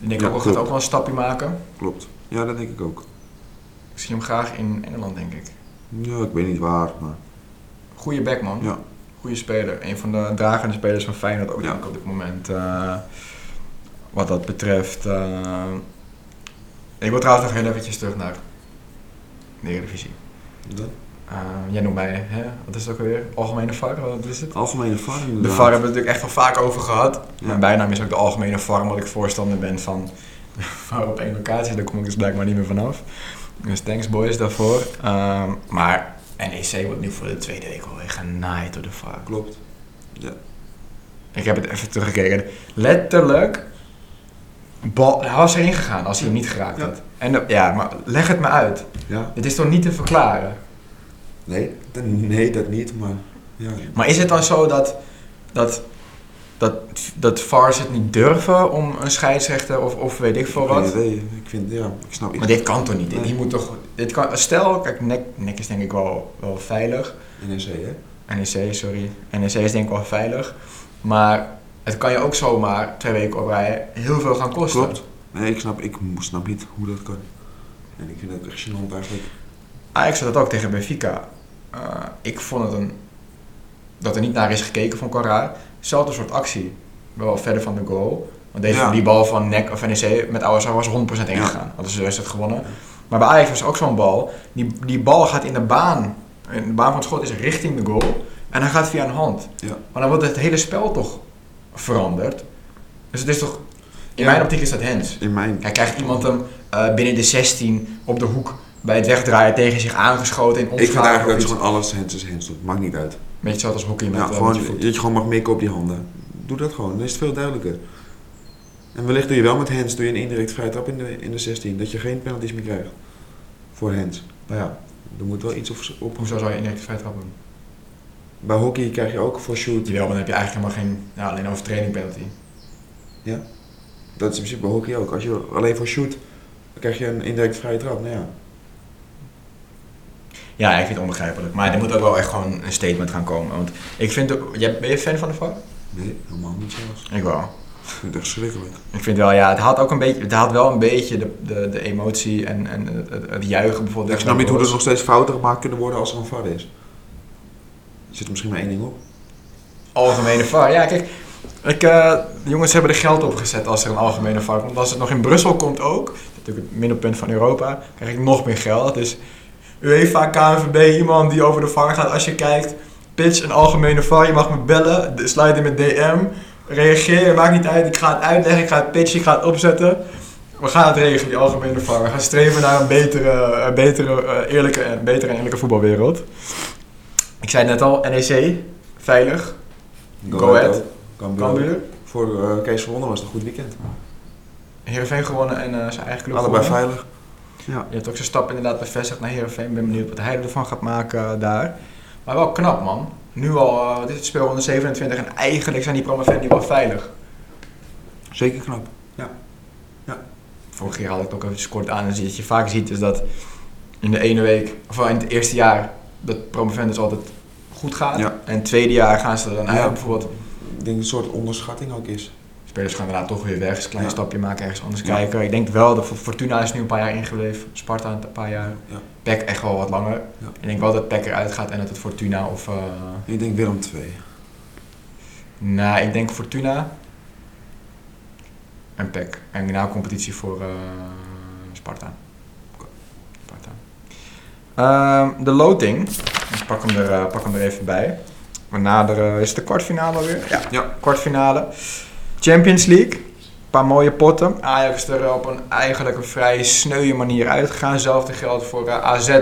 S3: Ik denk
S2: Ja,
S3: ook wel gaat
S2: klopt.
S3: ook wel een stapje maken.
S2: Klopt. Ja, dat denk ik ook.
S3: Ik zie hem graag in Engeland, denk ik.
S2: Ja, ik weet niet waar, maar...
S3: Goeie back, man.
S2: Ja.
S3: Goeie speler. Een van de dragende spelers van Feyenoord ook
S2: Ja.
S3: denk ik op dit moment. eh, wat dat betreft. eh. ik wil trouwens nog heel eventjes terug naar de Eredivisie.
S2: Dan?
S3: eh, jij noemt mij, hè? wat is het ook alweer? Algemene VAR, wat is het?
S2: Algemene VAR
S3: De
S2: inderdaad.
S3: VAR hebben we natuurlijk echt al vaak over gehad.
S2: Ja.
S3: Mijn bijnaam is ook de algemene VAR, omdat ik voorstander ben van *laughs* de VAR op één locatie. Daar kom ik dus blijkbaar niet meer vanaf. Dus thanks boys daarvoor. Ehm, maar NEC wordt nu voor de tweede week alweer genaaid door de VAR.
S2: Klopt.
S3: Ik heb het even teruggekeken. Letterlijk, bal, hij was erin gegaan als hij hem niet geraakt
S2: Ja.
S3: had. En de- ja, maar leg het me uit.
S2: Ja.
S3: Het is toch niet te verklaren?
S2: Nee, dat- nee, dat niet, maar... Ja.
S3: Maar is het dan zo dat, dat, dat, dat VAR's het niet durven om een scheidsrechter of, of weet ik veel wat?
S2: Nee, nee, ik vind, ja, ik snap
S3: Maar
S2: iets.
S3: dit kan toch niet? Dit, hier moet toch, dit kan, stel, kijk, nek, nek is denk ik wel, wel veilig.
S2: NEC, hè?
S3: NEC, sorry. NEC is denk ik wel veilig. Maar het kan je ook zomaar twee weken op rij heel veel gaan kosten.
S2: Klopt. Nee, ik snap, ik mo- snap niet hoe dat kan. En ik vind dat echt gênant eigenlijk.
S3: Ajax had dat ook tegen Benfica. Eh, ik vond het een... Dat er niet naar is gekeken, vond ik wel raar. Zelfde soort actie. Wel verder van de goal. Want deze,
S2: Ja.
S3: die bal van NEC of NEC met Ouassar was 100% ingegaan. Hadden ze de wedstrijd gewonnen. Maar bij Ajax was ook zo'n bal. Die, die bal gaat in de baan. In de baan van het schot is richting de goal. En hij gaat via een hand.
S2: Ja.
S3: Maar dan wordt het hele spel toch veranderd. Dus het is toch... In
S2: Ja.
S3: mijn optiek is dat hands.
S2: In mijn...
S3: Hij krijgt iemand hem eh, binnen de 16 op de hoek bij het wegdraaien tegen zich aangeschoten in
S2: Ik vind
S3: omschakeling.
S2: eigenlijk dat je gewoon alles hands is hands doet. Maakt niet uit.
S3: Beetje zoals hockey met,
S2: Ja,
S3: eh,
S2: gewoon,
S3: met je voet.
S2: dat je gewoon mag mikken op die handen. Doe dat gewoon, dan is het veel duidelijker. En wellicht doe je wel met hands, doe je een indirect vrije trap in de, in de 16. Dat je geen penalties meer krijgt. Voor hands. Maar ja, er moet wel iets op... op
S3: Hoezo zou je indirect vrij trap doen?
S2: bij hockey krijg je ook voor shoot.
S3: Jawel, maar dan heb je eigenlijk helemaal geen, ja, alleen overtreding penalty.
S2: Dat is in principe bij hockey ook. Als je alleen voor shoot, dan krijg je een indirect vrije trap. Nou ja.
S3: Ja, ik vind het onbegrijpelijk. Maar er moet ook wel echt gewoon een statement gaan komen. Want ik vind, de- jij, ben je fan van de VAR?
S2: Nee, helemaal niet zelfs. *laughs*
S3: Ik wel.
S2: Ik vind het echt schrikkelijk.
S3: Ik vind wel, ja, het had ook een beetje, het had wel een beetje de, de, de emotie en, en het, het- het juichen bijvoorbeeld.
S2: Ik snap niet hoe er nog steeds fouten gemaakt kunnen worden als er een VAR is. Er zit er misschien maar één ding op.
S3: Algemene VAR. Ja, kijk. Ik, eh, de jongens hebben er geld op gezet als er een algemene VAR komt. Als het nog in Brussel komt ook, dat is natuurlijk het middelpunt van Europa, krijg ik nog meer geld. Dus UEFA, KNVB, iemand die over de VAR gaat. Als je kijkt, pitch een algemene VAR, je mag me bellen, de- sluit in met DM. Reageer, maakt niet uit, ik ga het uitleggen, ik ga het pitchen, ik ga het opzetten. We gaan het regelen, die algemene VAR. We gaan streven naar een betere, eh, betere, eh, eerlijke, en betere en eerlijke voetbalwereld. Ik zei net al, NEC, veilig. Go ahead.
S2: Cambuur.
S3: Cambuur.
S2: Voor eh, Kees Verwonder was het een goed weekend.
S3: Heerenveen gewonnen en eh, zijn eigen club
S2: Allebei
S3: gewonnen.
S2: veilig. Ja.
S3: Je hebt ook zijn stap inderdaad bevestigd naar Heerenveen. Ik ben benieuwd wat hij ervan gaat maken eh, daar. Maar wel knap man. Nu al, eh, dit is het speelronde 27 en eigenlijk zijn die promovendi wel veilig.
S2: Zeker knap.
S3: Vorige keer had ik het ook even kort aan en zie- wat je vaak ziet is dat in de ene week, of wel in het eerste jaar, dat promovendus altijd goed gaat.
S2: Ja.
S3: En het tweede jaar gaan ze er dan uit.
S2: Ja.
S3: Bijvoorbeeld,
S2: Ik denk dat het een soort onderschatting ook is.
S3: spelers gaan daarna toch weer weg. Dus een klein
S2: Ja.
S3: stapje maken, ergens anders
S2: Ja.
S3: kijken. Ik denk wel, dat Fortuna is nu een paar jaar ingebleven. Sparta een paar jaar.
S2: Ja.
S3: PEC echt wel wat langer.
S2: Ja.
S3: Ik denk wel dat PEC eruit gaat en dat het Fortuna of... eh,
S2: Ik denk Willem 2.
S3: Nou, ik denk Fortuna en PEC. En na competitie voor eh, Sparta. Sparta. Ehm, de loting. Ik pak hem, er, eh, pak hem er even bij. We naderen... Is het de kwartfinale weer? Ja.
S2: Ja.
S3: Kwartfinale. Champions League. Een paar mooie potten. Ajax is er op een eigenlijk een vrij sneuwe manier uitgegaan. Hetzelfde geldt voor eh, AZ.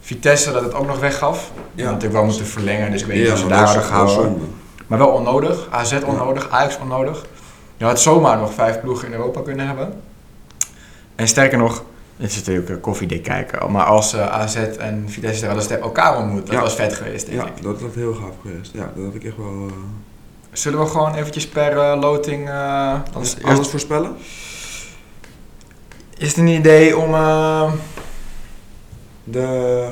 S3: Vitesse dat het ook nog weggaf. Ja. Natuurlijk wel moeten verlengen, dus ik weet niet of ze daar hadden gehouden. Maar wel onnodig. AZ onnodig, Ajax onnodig. Je had zomaar nog vijf ploegen in Europa kunnen hebben. En sterker nog, het is natuurlijk eh, koffiedik kijken. Maar als eh, AZ en Vitesse daar hadden ze elkaar ontmoet, dat
S2: Ja.
S3: was vet geweest, denk
S2: Ja,
S3: ik.
S2: dat had heel gaaf geweest. Ja, dat had ik echt wel... eh,
S3: Zullen we gewoon eventjes per eh, loting... eh, dan is,
S2: alles voorspellen?
S3: is het een idee om eh
S2: De,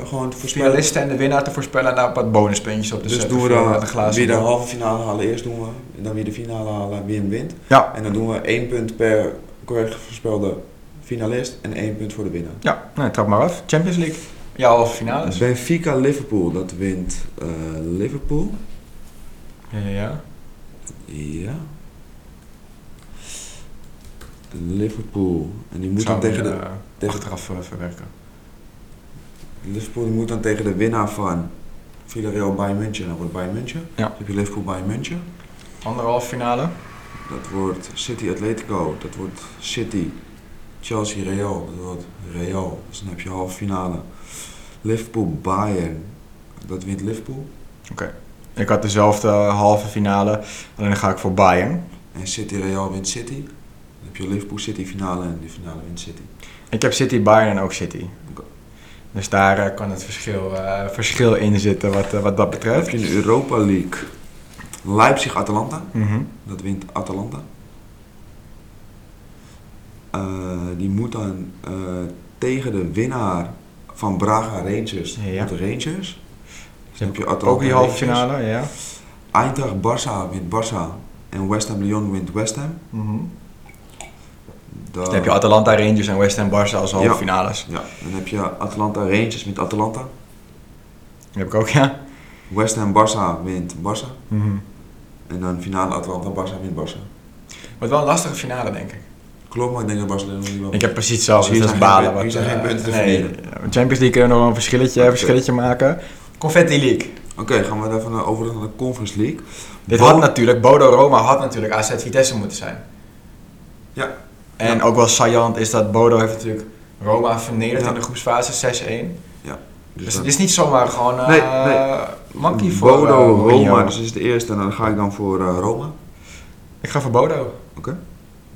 S2: gewoon te voorspellen.
S3: finalisten en de winnaar te voorspellen en daar een paar bonuspuntjes op te
S2: Dus
S3: zetten?
S2: doen we
S3: voor,
S2: dan
S3: eh, glazen
S2: wie de
S3: bol?
S2: halve finale halen eerst doen we. En dan wie de finale halen, wie hem wint.
S3: Ja.
S2: En dan doen we één punt per correct voorspelde finalist en één punt voor de winnaar.
S3: Ja, nee, trap maar af. Champions League. Ja, halve finales.
S2: Benfica Liverpool, dat wint eh, Liverpool.
S3: Ja, ja, ja.
S2: Ja. Liverpool. En die moet
S3: Zou
S2: dan tegen
S3: hem,
S2: de.
S3: eh,
S2: tegen-
S3: achteraf eh, verwerken.
S2: Liverpool die moet dan tegen de winnaar van Villarreal Bayern München. Dan wordt Bayern München.
S3: Ja.
S2: Dan heb je Liverpool Bayern München.
S3: Anderhalf finale.
S2: Dat wordt City Atletico. Dat wordt City. Chelsea Real. Dat wordt Real. Dus dan heb je halve finale. Liverpool Bayern. Dat wint Liverpool.
S3: Ik had dezelfde halve finale, alleen dan ga ik voor Bayern.
S2: En City Real wint City. Dan heb je Liverpool City finale en die finale wint City.
S3: Ik heb City Bayern en ook City.
S2: Oké.
S3: Dus daar eh, kan het verschil, eh, verschil in zitten wat, eh, wat dat
S2: Dan heb
S3: betreft.
S2: je in de Europa League. Leipzig Atalanta.
S3: Mhm.
S2: Dat wint Atalanta. Eh, die moet dan eh, tegen de winnaar van Braga Rangers.
S3: Ja.
S2: Met de Rangers. Dus dan heb je Atalanta
S3: Ook die halve
S2: Rangers.
S3: finale, ja.
S2: Eintracht Barça wint Barça. En West Ham Lyon wint West Ham.
S3: Mhm.
S2: Dan,
S3: Dan heb je Atalanta, Rangers en West Ham Barça als halve
S2: Ja.
S3: finales.
S2: ja, dan heb je Atalanta Rangers wint Atalanta.
S3: Die heb ik ook, ja.
S2: West Ham Barça wint Barça.
S3: Mhm.
S2: En dan finale Atalanta Barça wint Barça.
S3: Wordt wel een lastige finale, denk ik.
S2: Klopt, maar ik denk dat Barcelona niet wel.
S3: Ik heb precies hetzelfde.
S2: Dus hier
S3: dat is
S2: zijn geen
S3: balen.
S2: pun-
S3: wat,
S2: hier zijn geen
S3: eh,
S2: punten te
S3: nee, Champions League kunnen we nog een verschilletje,
S2: Oké.
S3: verschilletje maken. Confetti League.
S2: Oké, gaan we even naar- over naar de Conference League.
S3: Dit
S2: Bo-
S3: had natuurlijk, Bodo Roma had natuurlijk AZ Vitesse moeten zijn.
S2: Ja.
S3: En ook wel saillant is dat Bodo heeft natuurlijk Roma vernederd
S2: Ja.
S3: in de groepsfase 6-1. Dus,
S2: Dus
S3: het
S2: dat-
S3: is niet zomaar gewoon eh
S2: Nee, nee.
S3: monkey voor
S2: Bodo,
S3: eh, Mourinho.
S2: Roma, dus is de eerste. En dan ga ik dan voor eh, Roma.
S3: Ik ga voor Bodo.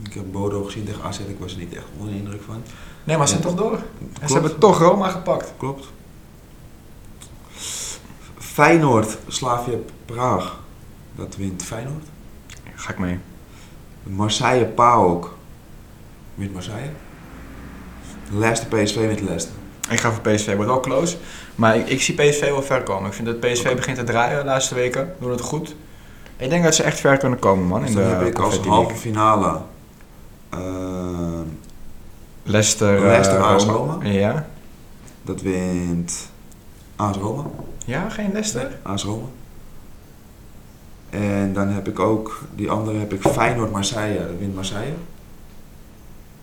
S2: Ik heb Bodo gezien tegen AZ, ik was er niet echt onder de indruk van.
S3: Nee, maar ze
S2: Ja.
S3: zijn toch door. En
S2: Klopt.
S3: ze hebben toch Roma gepakt.
S2: Klopt. Feyenoord, Slavia Praag. Dat wint Feyenoord.
S3: Ga ik mee.
S2: Marseille PAOK. Wint Marseille. Leicester PSV wint Leicester.
S3: Ik ga voor PSV. Wordt wel close. Maar ik, ik zie PSV wel ver komen. Ik vind dat PSV
S2: Oké.
S3: begint te draaien de laatste weken. Doen het goed. Ik denk dat ze echt ver kunnen komen, man.
S2: Dus
S3: in
S2: dan
S3: de
S2: heb ik als
S3: Confetti
S2: halve
S3: League.
S2: finale eh,
S3: Leicester. eh,
S2: Leicester, AS Roma.
S3: Ja.
S2: dat wint AS Roma.
S3: Ja, geen Leicester.
S2: AS Roma. En dan heb ik ook, die andere heb ik Feyenoord Marseille, dat wint Marseille.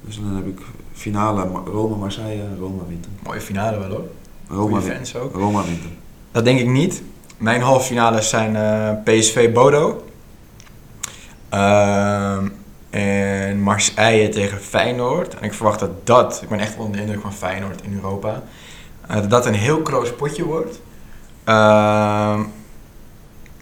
S2: Dus dan heb ik finale Ma- Roma Marseille, Roma wint hem.
S3: Mooie finale wel hoor.
S2: Roma
S3: Goeie
S2: wint.
S3: fans ook.
S2: Roma wint hem.
S3: Dat denk ik niet. Mijn halve finales zijn eh, PSV Bodo. Ehm, en Marseille tegen Feyenoord. En ik verwacht dat dat, ik ben echt onder de indruk van Feyenoord in Europa, eh, dat dat een heel close potje wordt. Ehm,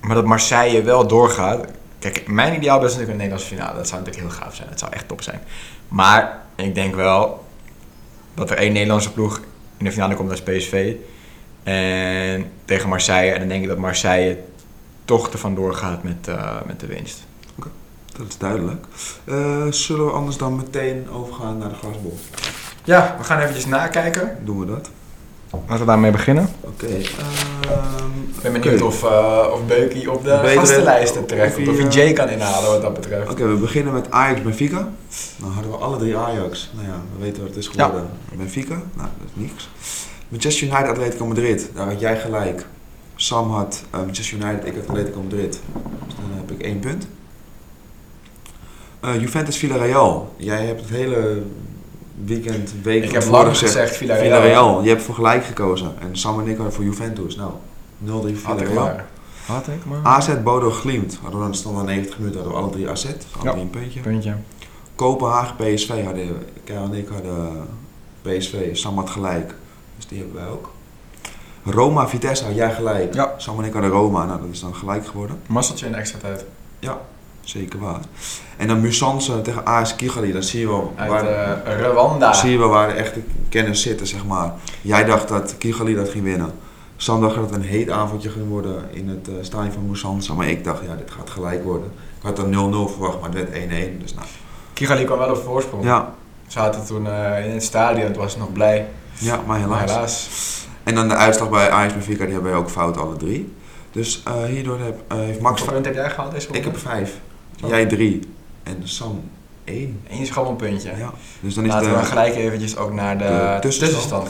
S3: maar dat Marseille wel doorgaat. Kijk, mijn ideaalbeeld is natuurlijk een Nederlandse finale. Dat zou natuurlijk heel gaaf zijn. Dat zou echt top zijn. Maar ik denk wel dat er één Nederlandse ploeg in de finale komt, dat is PSV. En tegen Marseille. En dan denk ik dat Marseille toch er vandoor gaat met, eh, met de winst.
S2: Dat is duidelijk. Eh, zullen we anders dan meteen overgaan naar de glasbol?
S3: Ja, we gaan eventjes nakijken.
S2: Doen we dat?
S3: Laten we daarmee beginnen.
S2: Oké. ehm,
S3: Ik ben benieuwd
S2: oké.
S3: of, eh of Beukie op de
S2: Beter-
S3: gastenlijsten terecht
S2: of
S3: komt.
S2: hij,
S3: Of
S2: eh,
S3: hij Jay kan inhalen wat dat betreft.
S2: Oké, we beginnen met Ajax Benfica. Nou hadden we alle drie Ajax. Nou ja, we weten wat het is geworden. Benfica, nou dat is niks. Manchester United Atletico Madrid, daar had jij gelijk. Sam had eh, Manchester United, ik had Atletico Madrid. Dus dan heb ik één punt. Eh, Juventus Villarreal. Jij hebt het hele weekend, week
S3: Ik
S2: van
S3: heb
S2: tevoren
S3: lang gezegd Villarreal.
S2: Villarreal. Je hebt voor gelijk gekozen. En Sam en ik hadden voor Juventus. Nou, 0-3
S3: Had ik
S2: Villarreal.
S3: maar. Ah, Had ik maar.
S2: AZ Bodo Glimt. Hadden we dan stond 90 minuten, hadden we alle drie AZ. Alle
S3: Ja.
S2: drie een puntje.
S3: Puntje.
S2: Kopenhagen PSV hadden Kyle en ik hadden PSV, Sam had gelijk. Dus die hebben wij ook. Roma Vitesse had jij gelijk.
S3: Ja.
S2: Sam en ik hadden Roma. Nou, dat is dan gelijk geworden.
S3: Masseltje in de extra tijd.
S2: Zeker waar. En dan Musanse tegen AS Kigali. Dan zie je wel
S3: Uit
S2: waar,
S3: eh, Rwanda.
S2: zie je wel waar de echte kennis zitten, zeg maar. Jij dacht dat Kigali dat ging winnen. Sam dacht dat het een heet avondje ging worden in het eh stadion van Musanse. Maar ik dacht, ja, dit gaat gelijk worden. Ik had dan 0-0 verwacht, maar het werd 1-1. Dus nou.
S3: Kigali kwam wel op voorsprong.
S2: Ja,
S3: We zaten toen eh, in het stadion. Het was nog blij.
S2: ja, maar
S3: Maar
S2: helaas.
S3: helaas.
S2: En dan de uitslag bij Ajax Benfica, die hebben wij ook fout, alle drie. Dus eh, hierdoor heb, eh, heeft Max...
S3: Hoeveel
S2: van-
S3: punt heb jij gehaald deze
S2: Ik heb
S3: ronde?
S2: vijf,
S3: Zo.
S2: jij drie en Sam één.
S3: Eén is gewoon een puntje.
S2: Ja. Dus dan is
S3: Laten
S2: de,
S3: we dan gelijk eventjes ook naar de,
S2: de tussenstand.
S3: tussenstand.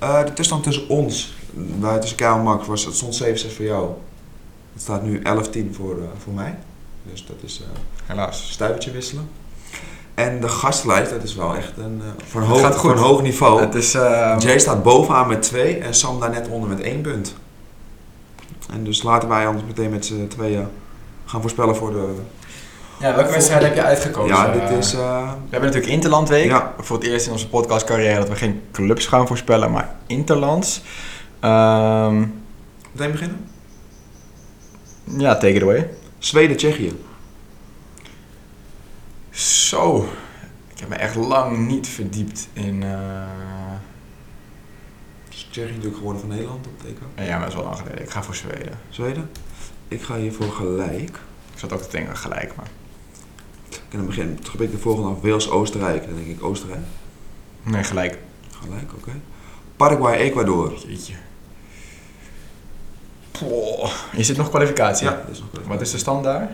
S3: kijken.
S2: eh, de tussenstand tussen ons, waar tussen Kyle en Max, was, het stond 7-6 voor jou. Het staat nu 11-10 voor, eh, voor mij. Dus dat is eh, een
S3: Helaas.
S2: stuivertje wisselen. En de gastenlijst, dat is wel echt een, eh, van,
S3: Het
S2: hoog,
S3: gaat goed.
S2: van hoog niveau.
S3: Het is, eh,
S2: Jay staat bovenaan met twee en Sam daar net onder met één punt. En dus laten wij anders meteen met z'n tweeën gaan voorspellen voor de...
S3: ja, welke wedstrijd heb je uitgekozen?
S2: ja, dit
S3: Eh,
S2: is... Oh, eh,
S3: We hebben natuurlijk Interlandweek.
S2: Ja.
S3: Voor het eerst in onze podcastcarrière dat we geen clubs gaan voorspellen, maar Interlands. Ehm,
S2: meteen beginnen?
S3: ja, take it away.
S2: Zweden-Tsjechië.
S3: Zo, ik heb me echt lang niet verdiept in... eh,
S2: Dus Tsjechië natuurlijk geworden van Nederland op teken.
S3: Ja, maar dat is wel lang geleden. Ik ga voor Zweden.
S2: Zweden. Ik ga hiervoor gelijk.
S3: Ik zat ook te denken gelijk, maar...
S2: En dan begin trap ik de volgende af Wales-Oostenrijk. Dan denk ik Oostenrijk.
S3: Nee, gelijk.
S2: Gelijk, oké. Paraguay-Ecuador.
S3: Jeetje. Poh. Is dit nog kwalificatie?
S2: dat is nog wel-
S3: Wat is de stand daar?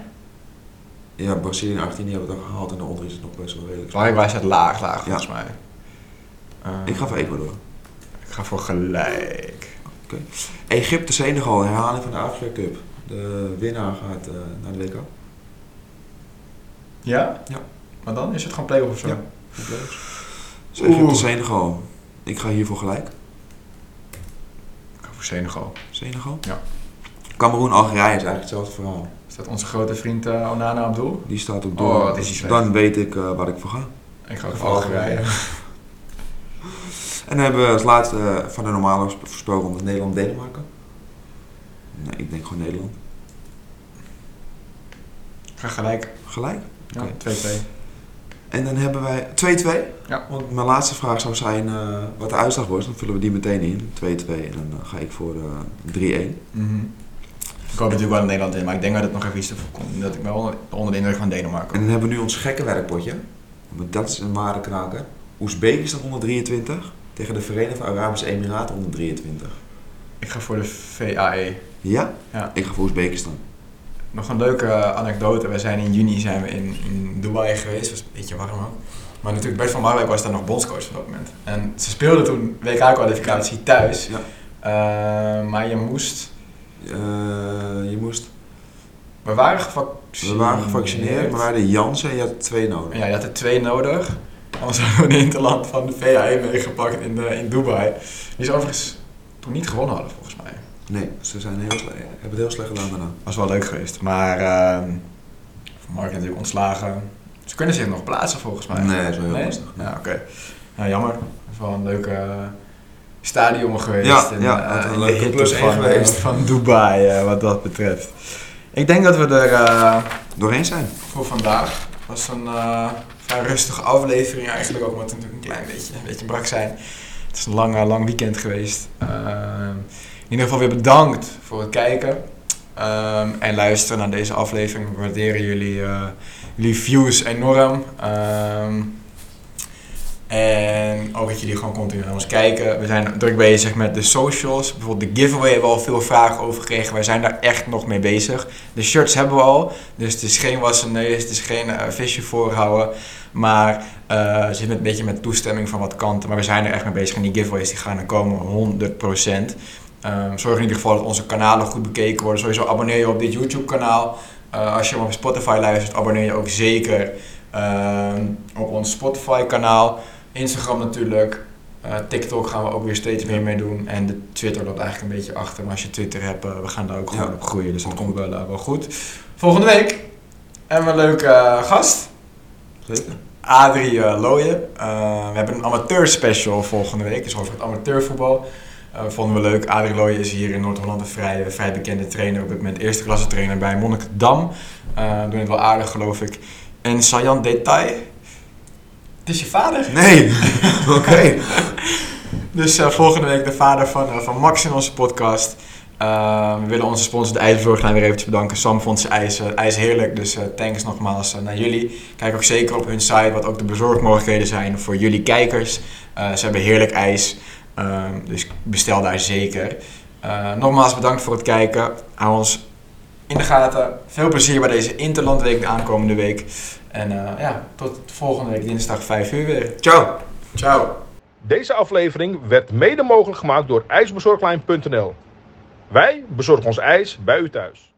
S2: Ja, Brazilië en Argentinië hebben het al gehaald en daaronder is het nog best wel redelijk.
S3: Paraguay staat laag, laag volgens mij. Eh,
S2: Ik ga voor Ecuador.
S3: ik ga voor gelijk.
S2: Egypte, Senegal, herhaling van de Afrika Cup. De winnaar gaat eh, naar de WK.
S3: Ja?
S2: Ja.
S3: Maar dan is het gewoon play-off of zo?
S2: Ja. Dus Egypte,
S3: Oeh.
S2: Senegal. Ik ga hiervoor gelijk.
S3: Ik ga voor Senegal.
S2: Senegal.
S3: Ja.
S2: Cameroen, Algerije is eigenlijk hetzelfde verhaal.
S3: Staat onze grote vriend eh, Onana op doel?
S2: Die staat op
S3: Oh,
S2: door. Dus
S3: wat is die slecht.
S2: Dan weet ik eh, waar ik voor ga.
S3: Ik ga ook
S2: Of
S3: voor Algerije.
S2: En dan hebben we als laatste eh, van de normale sp- voorspelronde Nederland-Denemarken. Nee, ik denk gewoon Nederland.
S3: Ik ga gelijk.
S2: Gelijk.
S3: Ja,
S2: Oké.
S3: 2-2.
S2: En dan hebben wij 2-2.
S3: Ja.
S2: Want mijn laatste vraag zou zijn eh, wat de uitslag wordt. Dan vullen we die meteen in. 2-2. En dan eh, ga ik voor eh 3-1.
S3: Mhm. Ik hoop natuurlijk wel in Nederland in, maar ik denk dat het nog even iets te vroeg komt. Dat ik me wel onder- onder de indruk van Denemarken.
S2: En dan hebben we nu ons gekke werkpotje. Want dat is een ware knaker. Oezbekistan 123 tegen de Verenigde Arabische Emiraten 123.
S3: Ik ga voor de E. VAE.
S2: Ja?
S3: Ja.
S2: Ik ga voor Oezbekistan.
S3: Nog een leuke eh, anekdote. We zijn in juni zijn we in, in Dubai geweest. Het was een beetje warm ook. Maar natuurlijk Bert van Marwijk was daar nog bondscoach op dat moment. En ze speelden toen WK-kwalificatie thuis.
S2: Ja.
S3: Eh, maar je moest...
S2: Eh, je moest...
S3: We waren gevaccineerd.
S2: We waren gevaccineerd, maar we hadden Jansen en je had twee nodig.
S3: Ja, je had er twee nodig. Anders *laughs* hadden we een interland van de VAE meegepakt in, de, in Dubai. Die ze overigens toen niet gewonnen hadden volgens mij.
S2: Nee, ze zijn heel slecht, hebben het heel slecht gedaan daarna.
S3: was wel leuk geweest. Maar ehm Van Marken natuurlijk ontslagen. Ze kunnen zich nog plaatsen volgens mij.
S2: Nee, dat is wel heel lastig.
S3: Ja, oké. Nou, jammer. Het is wel een leuke eh, stadion geweest.
S2: Ja,
S3: in,
S2: ja,
S3: eh,
S2: het is een
S3: in de
S2: leuke
S3: hitte
S2: plus één
S3: van,
S2: geweest.
S3: eh, van Dubai, eh, wat dat betreft. Ik denk dat we er eh,
S2: Doorheen zijn.
S3: voor vandaag... was een eh, vrij rustige aflevering eigenlijk ook, omdat we natuurlijk een klein beetje, een beetje brak zijn. Het is een lang, eh, lang weekend geweest. Ehm, in ieder geval weer bedankt voor het kijken ehm, en luisteren naar deze aflevering. We waarderen jullie, eh jullie views enorm. Ehm, en ook dat jullie gewoon continu naar ons kijken. We zijn druk bezig met de socials. Bijvoorbeeld de giveaway hebben we al veel vragen over gekregen. Wij zijn daar echt nog mee bezig. De shirts hebben we al. Dus het is geen wassen neus, het is geen eh, visje voorhouden. Maar eh, het zit met- een beetje met toestemming van wat kanten. Maar we zijn er echt mee bezig. En die giveaways die gaan er komen, 100%. Ehm, zorg in ieder geval dat onze kanalen goed bekeken worden. Sowieso abonneer je op dit YouTube-kanaal. Eh, als je hem op Spotify luistert, abonneer je ook zeker ehm, op ons Spotify-kanaal. Instagram natuurlijk. Eh, TikTok gaan we ook weer steeds meer mee doen. En de Twitter loopt eigenlijk een beetje achter. Maar als je Twitter hebt, eh, we gaan daar ook gewoon
S2: Ja.
S3: op groeien. Dus dat komt wel, eh, wel goed. Volgende week hebben we een leuke eh, gast.
S2: Zeker.
S3: Adrie eh, Looyen. Eh, we hebben een amateur special volgende week, dus over het amateurvoetbal. Eh, vonden we leuk. Adrie Looyen is hier in Noord-Holland een vrij, vrij bekende trainer. Op dit moment eerste klasse trainer bij Monnikendam. Eh doen het wel aardig, geloof ik. En Sajan Detail. Het is je vader.
S2: Nee! *laughs* Oké.
S3: Dus eh, volgende week de vader van, eh, van Max in onze podcast. Eh, we willen onze sponsor de IJsbezorglijn weer eventjes bedanken. Sam vond zijn ijs, eh, ijs heerlijk, dus eh, thanks nogmaals eh, naar jullie. Kijk ook zeker op hun site wat ook de bezorgmogelijkheden zijn voor jullie kijkers. Eh, ze hebben heerlijk ijs, eh, dus bestel daar zeker. Eh, nogmaals bedankt voor het kijken. Hou ons in de gaten. Veel plezier bij deze Interlandweek de aankomende week. En eh, ja, tot volgende week dinsdag 5 uur weer.
S2: Ciao!
S3: Ciao!
S1: Deze aflevering werd mede mogelijk gemaakt door ijsbezorglijn.nl. Wij bezorgen ons ijs bij u thuis.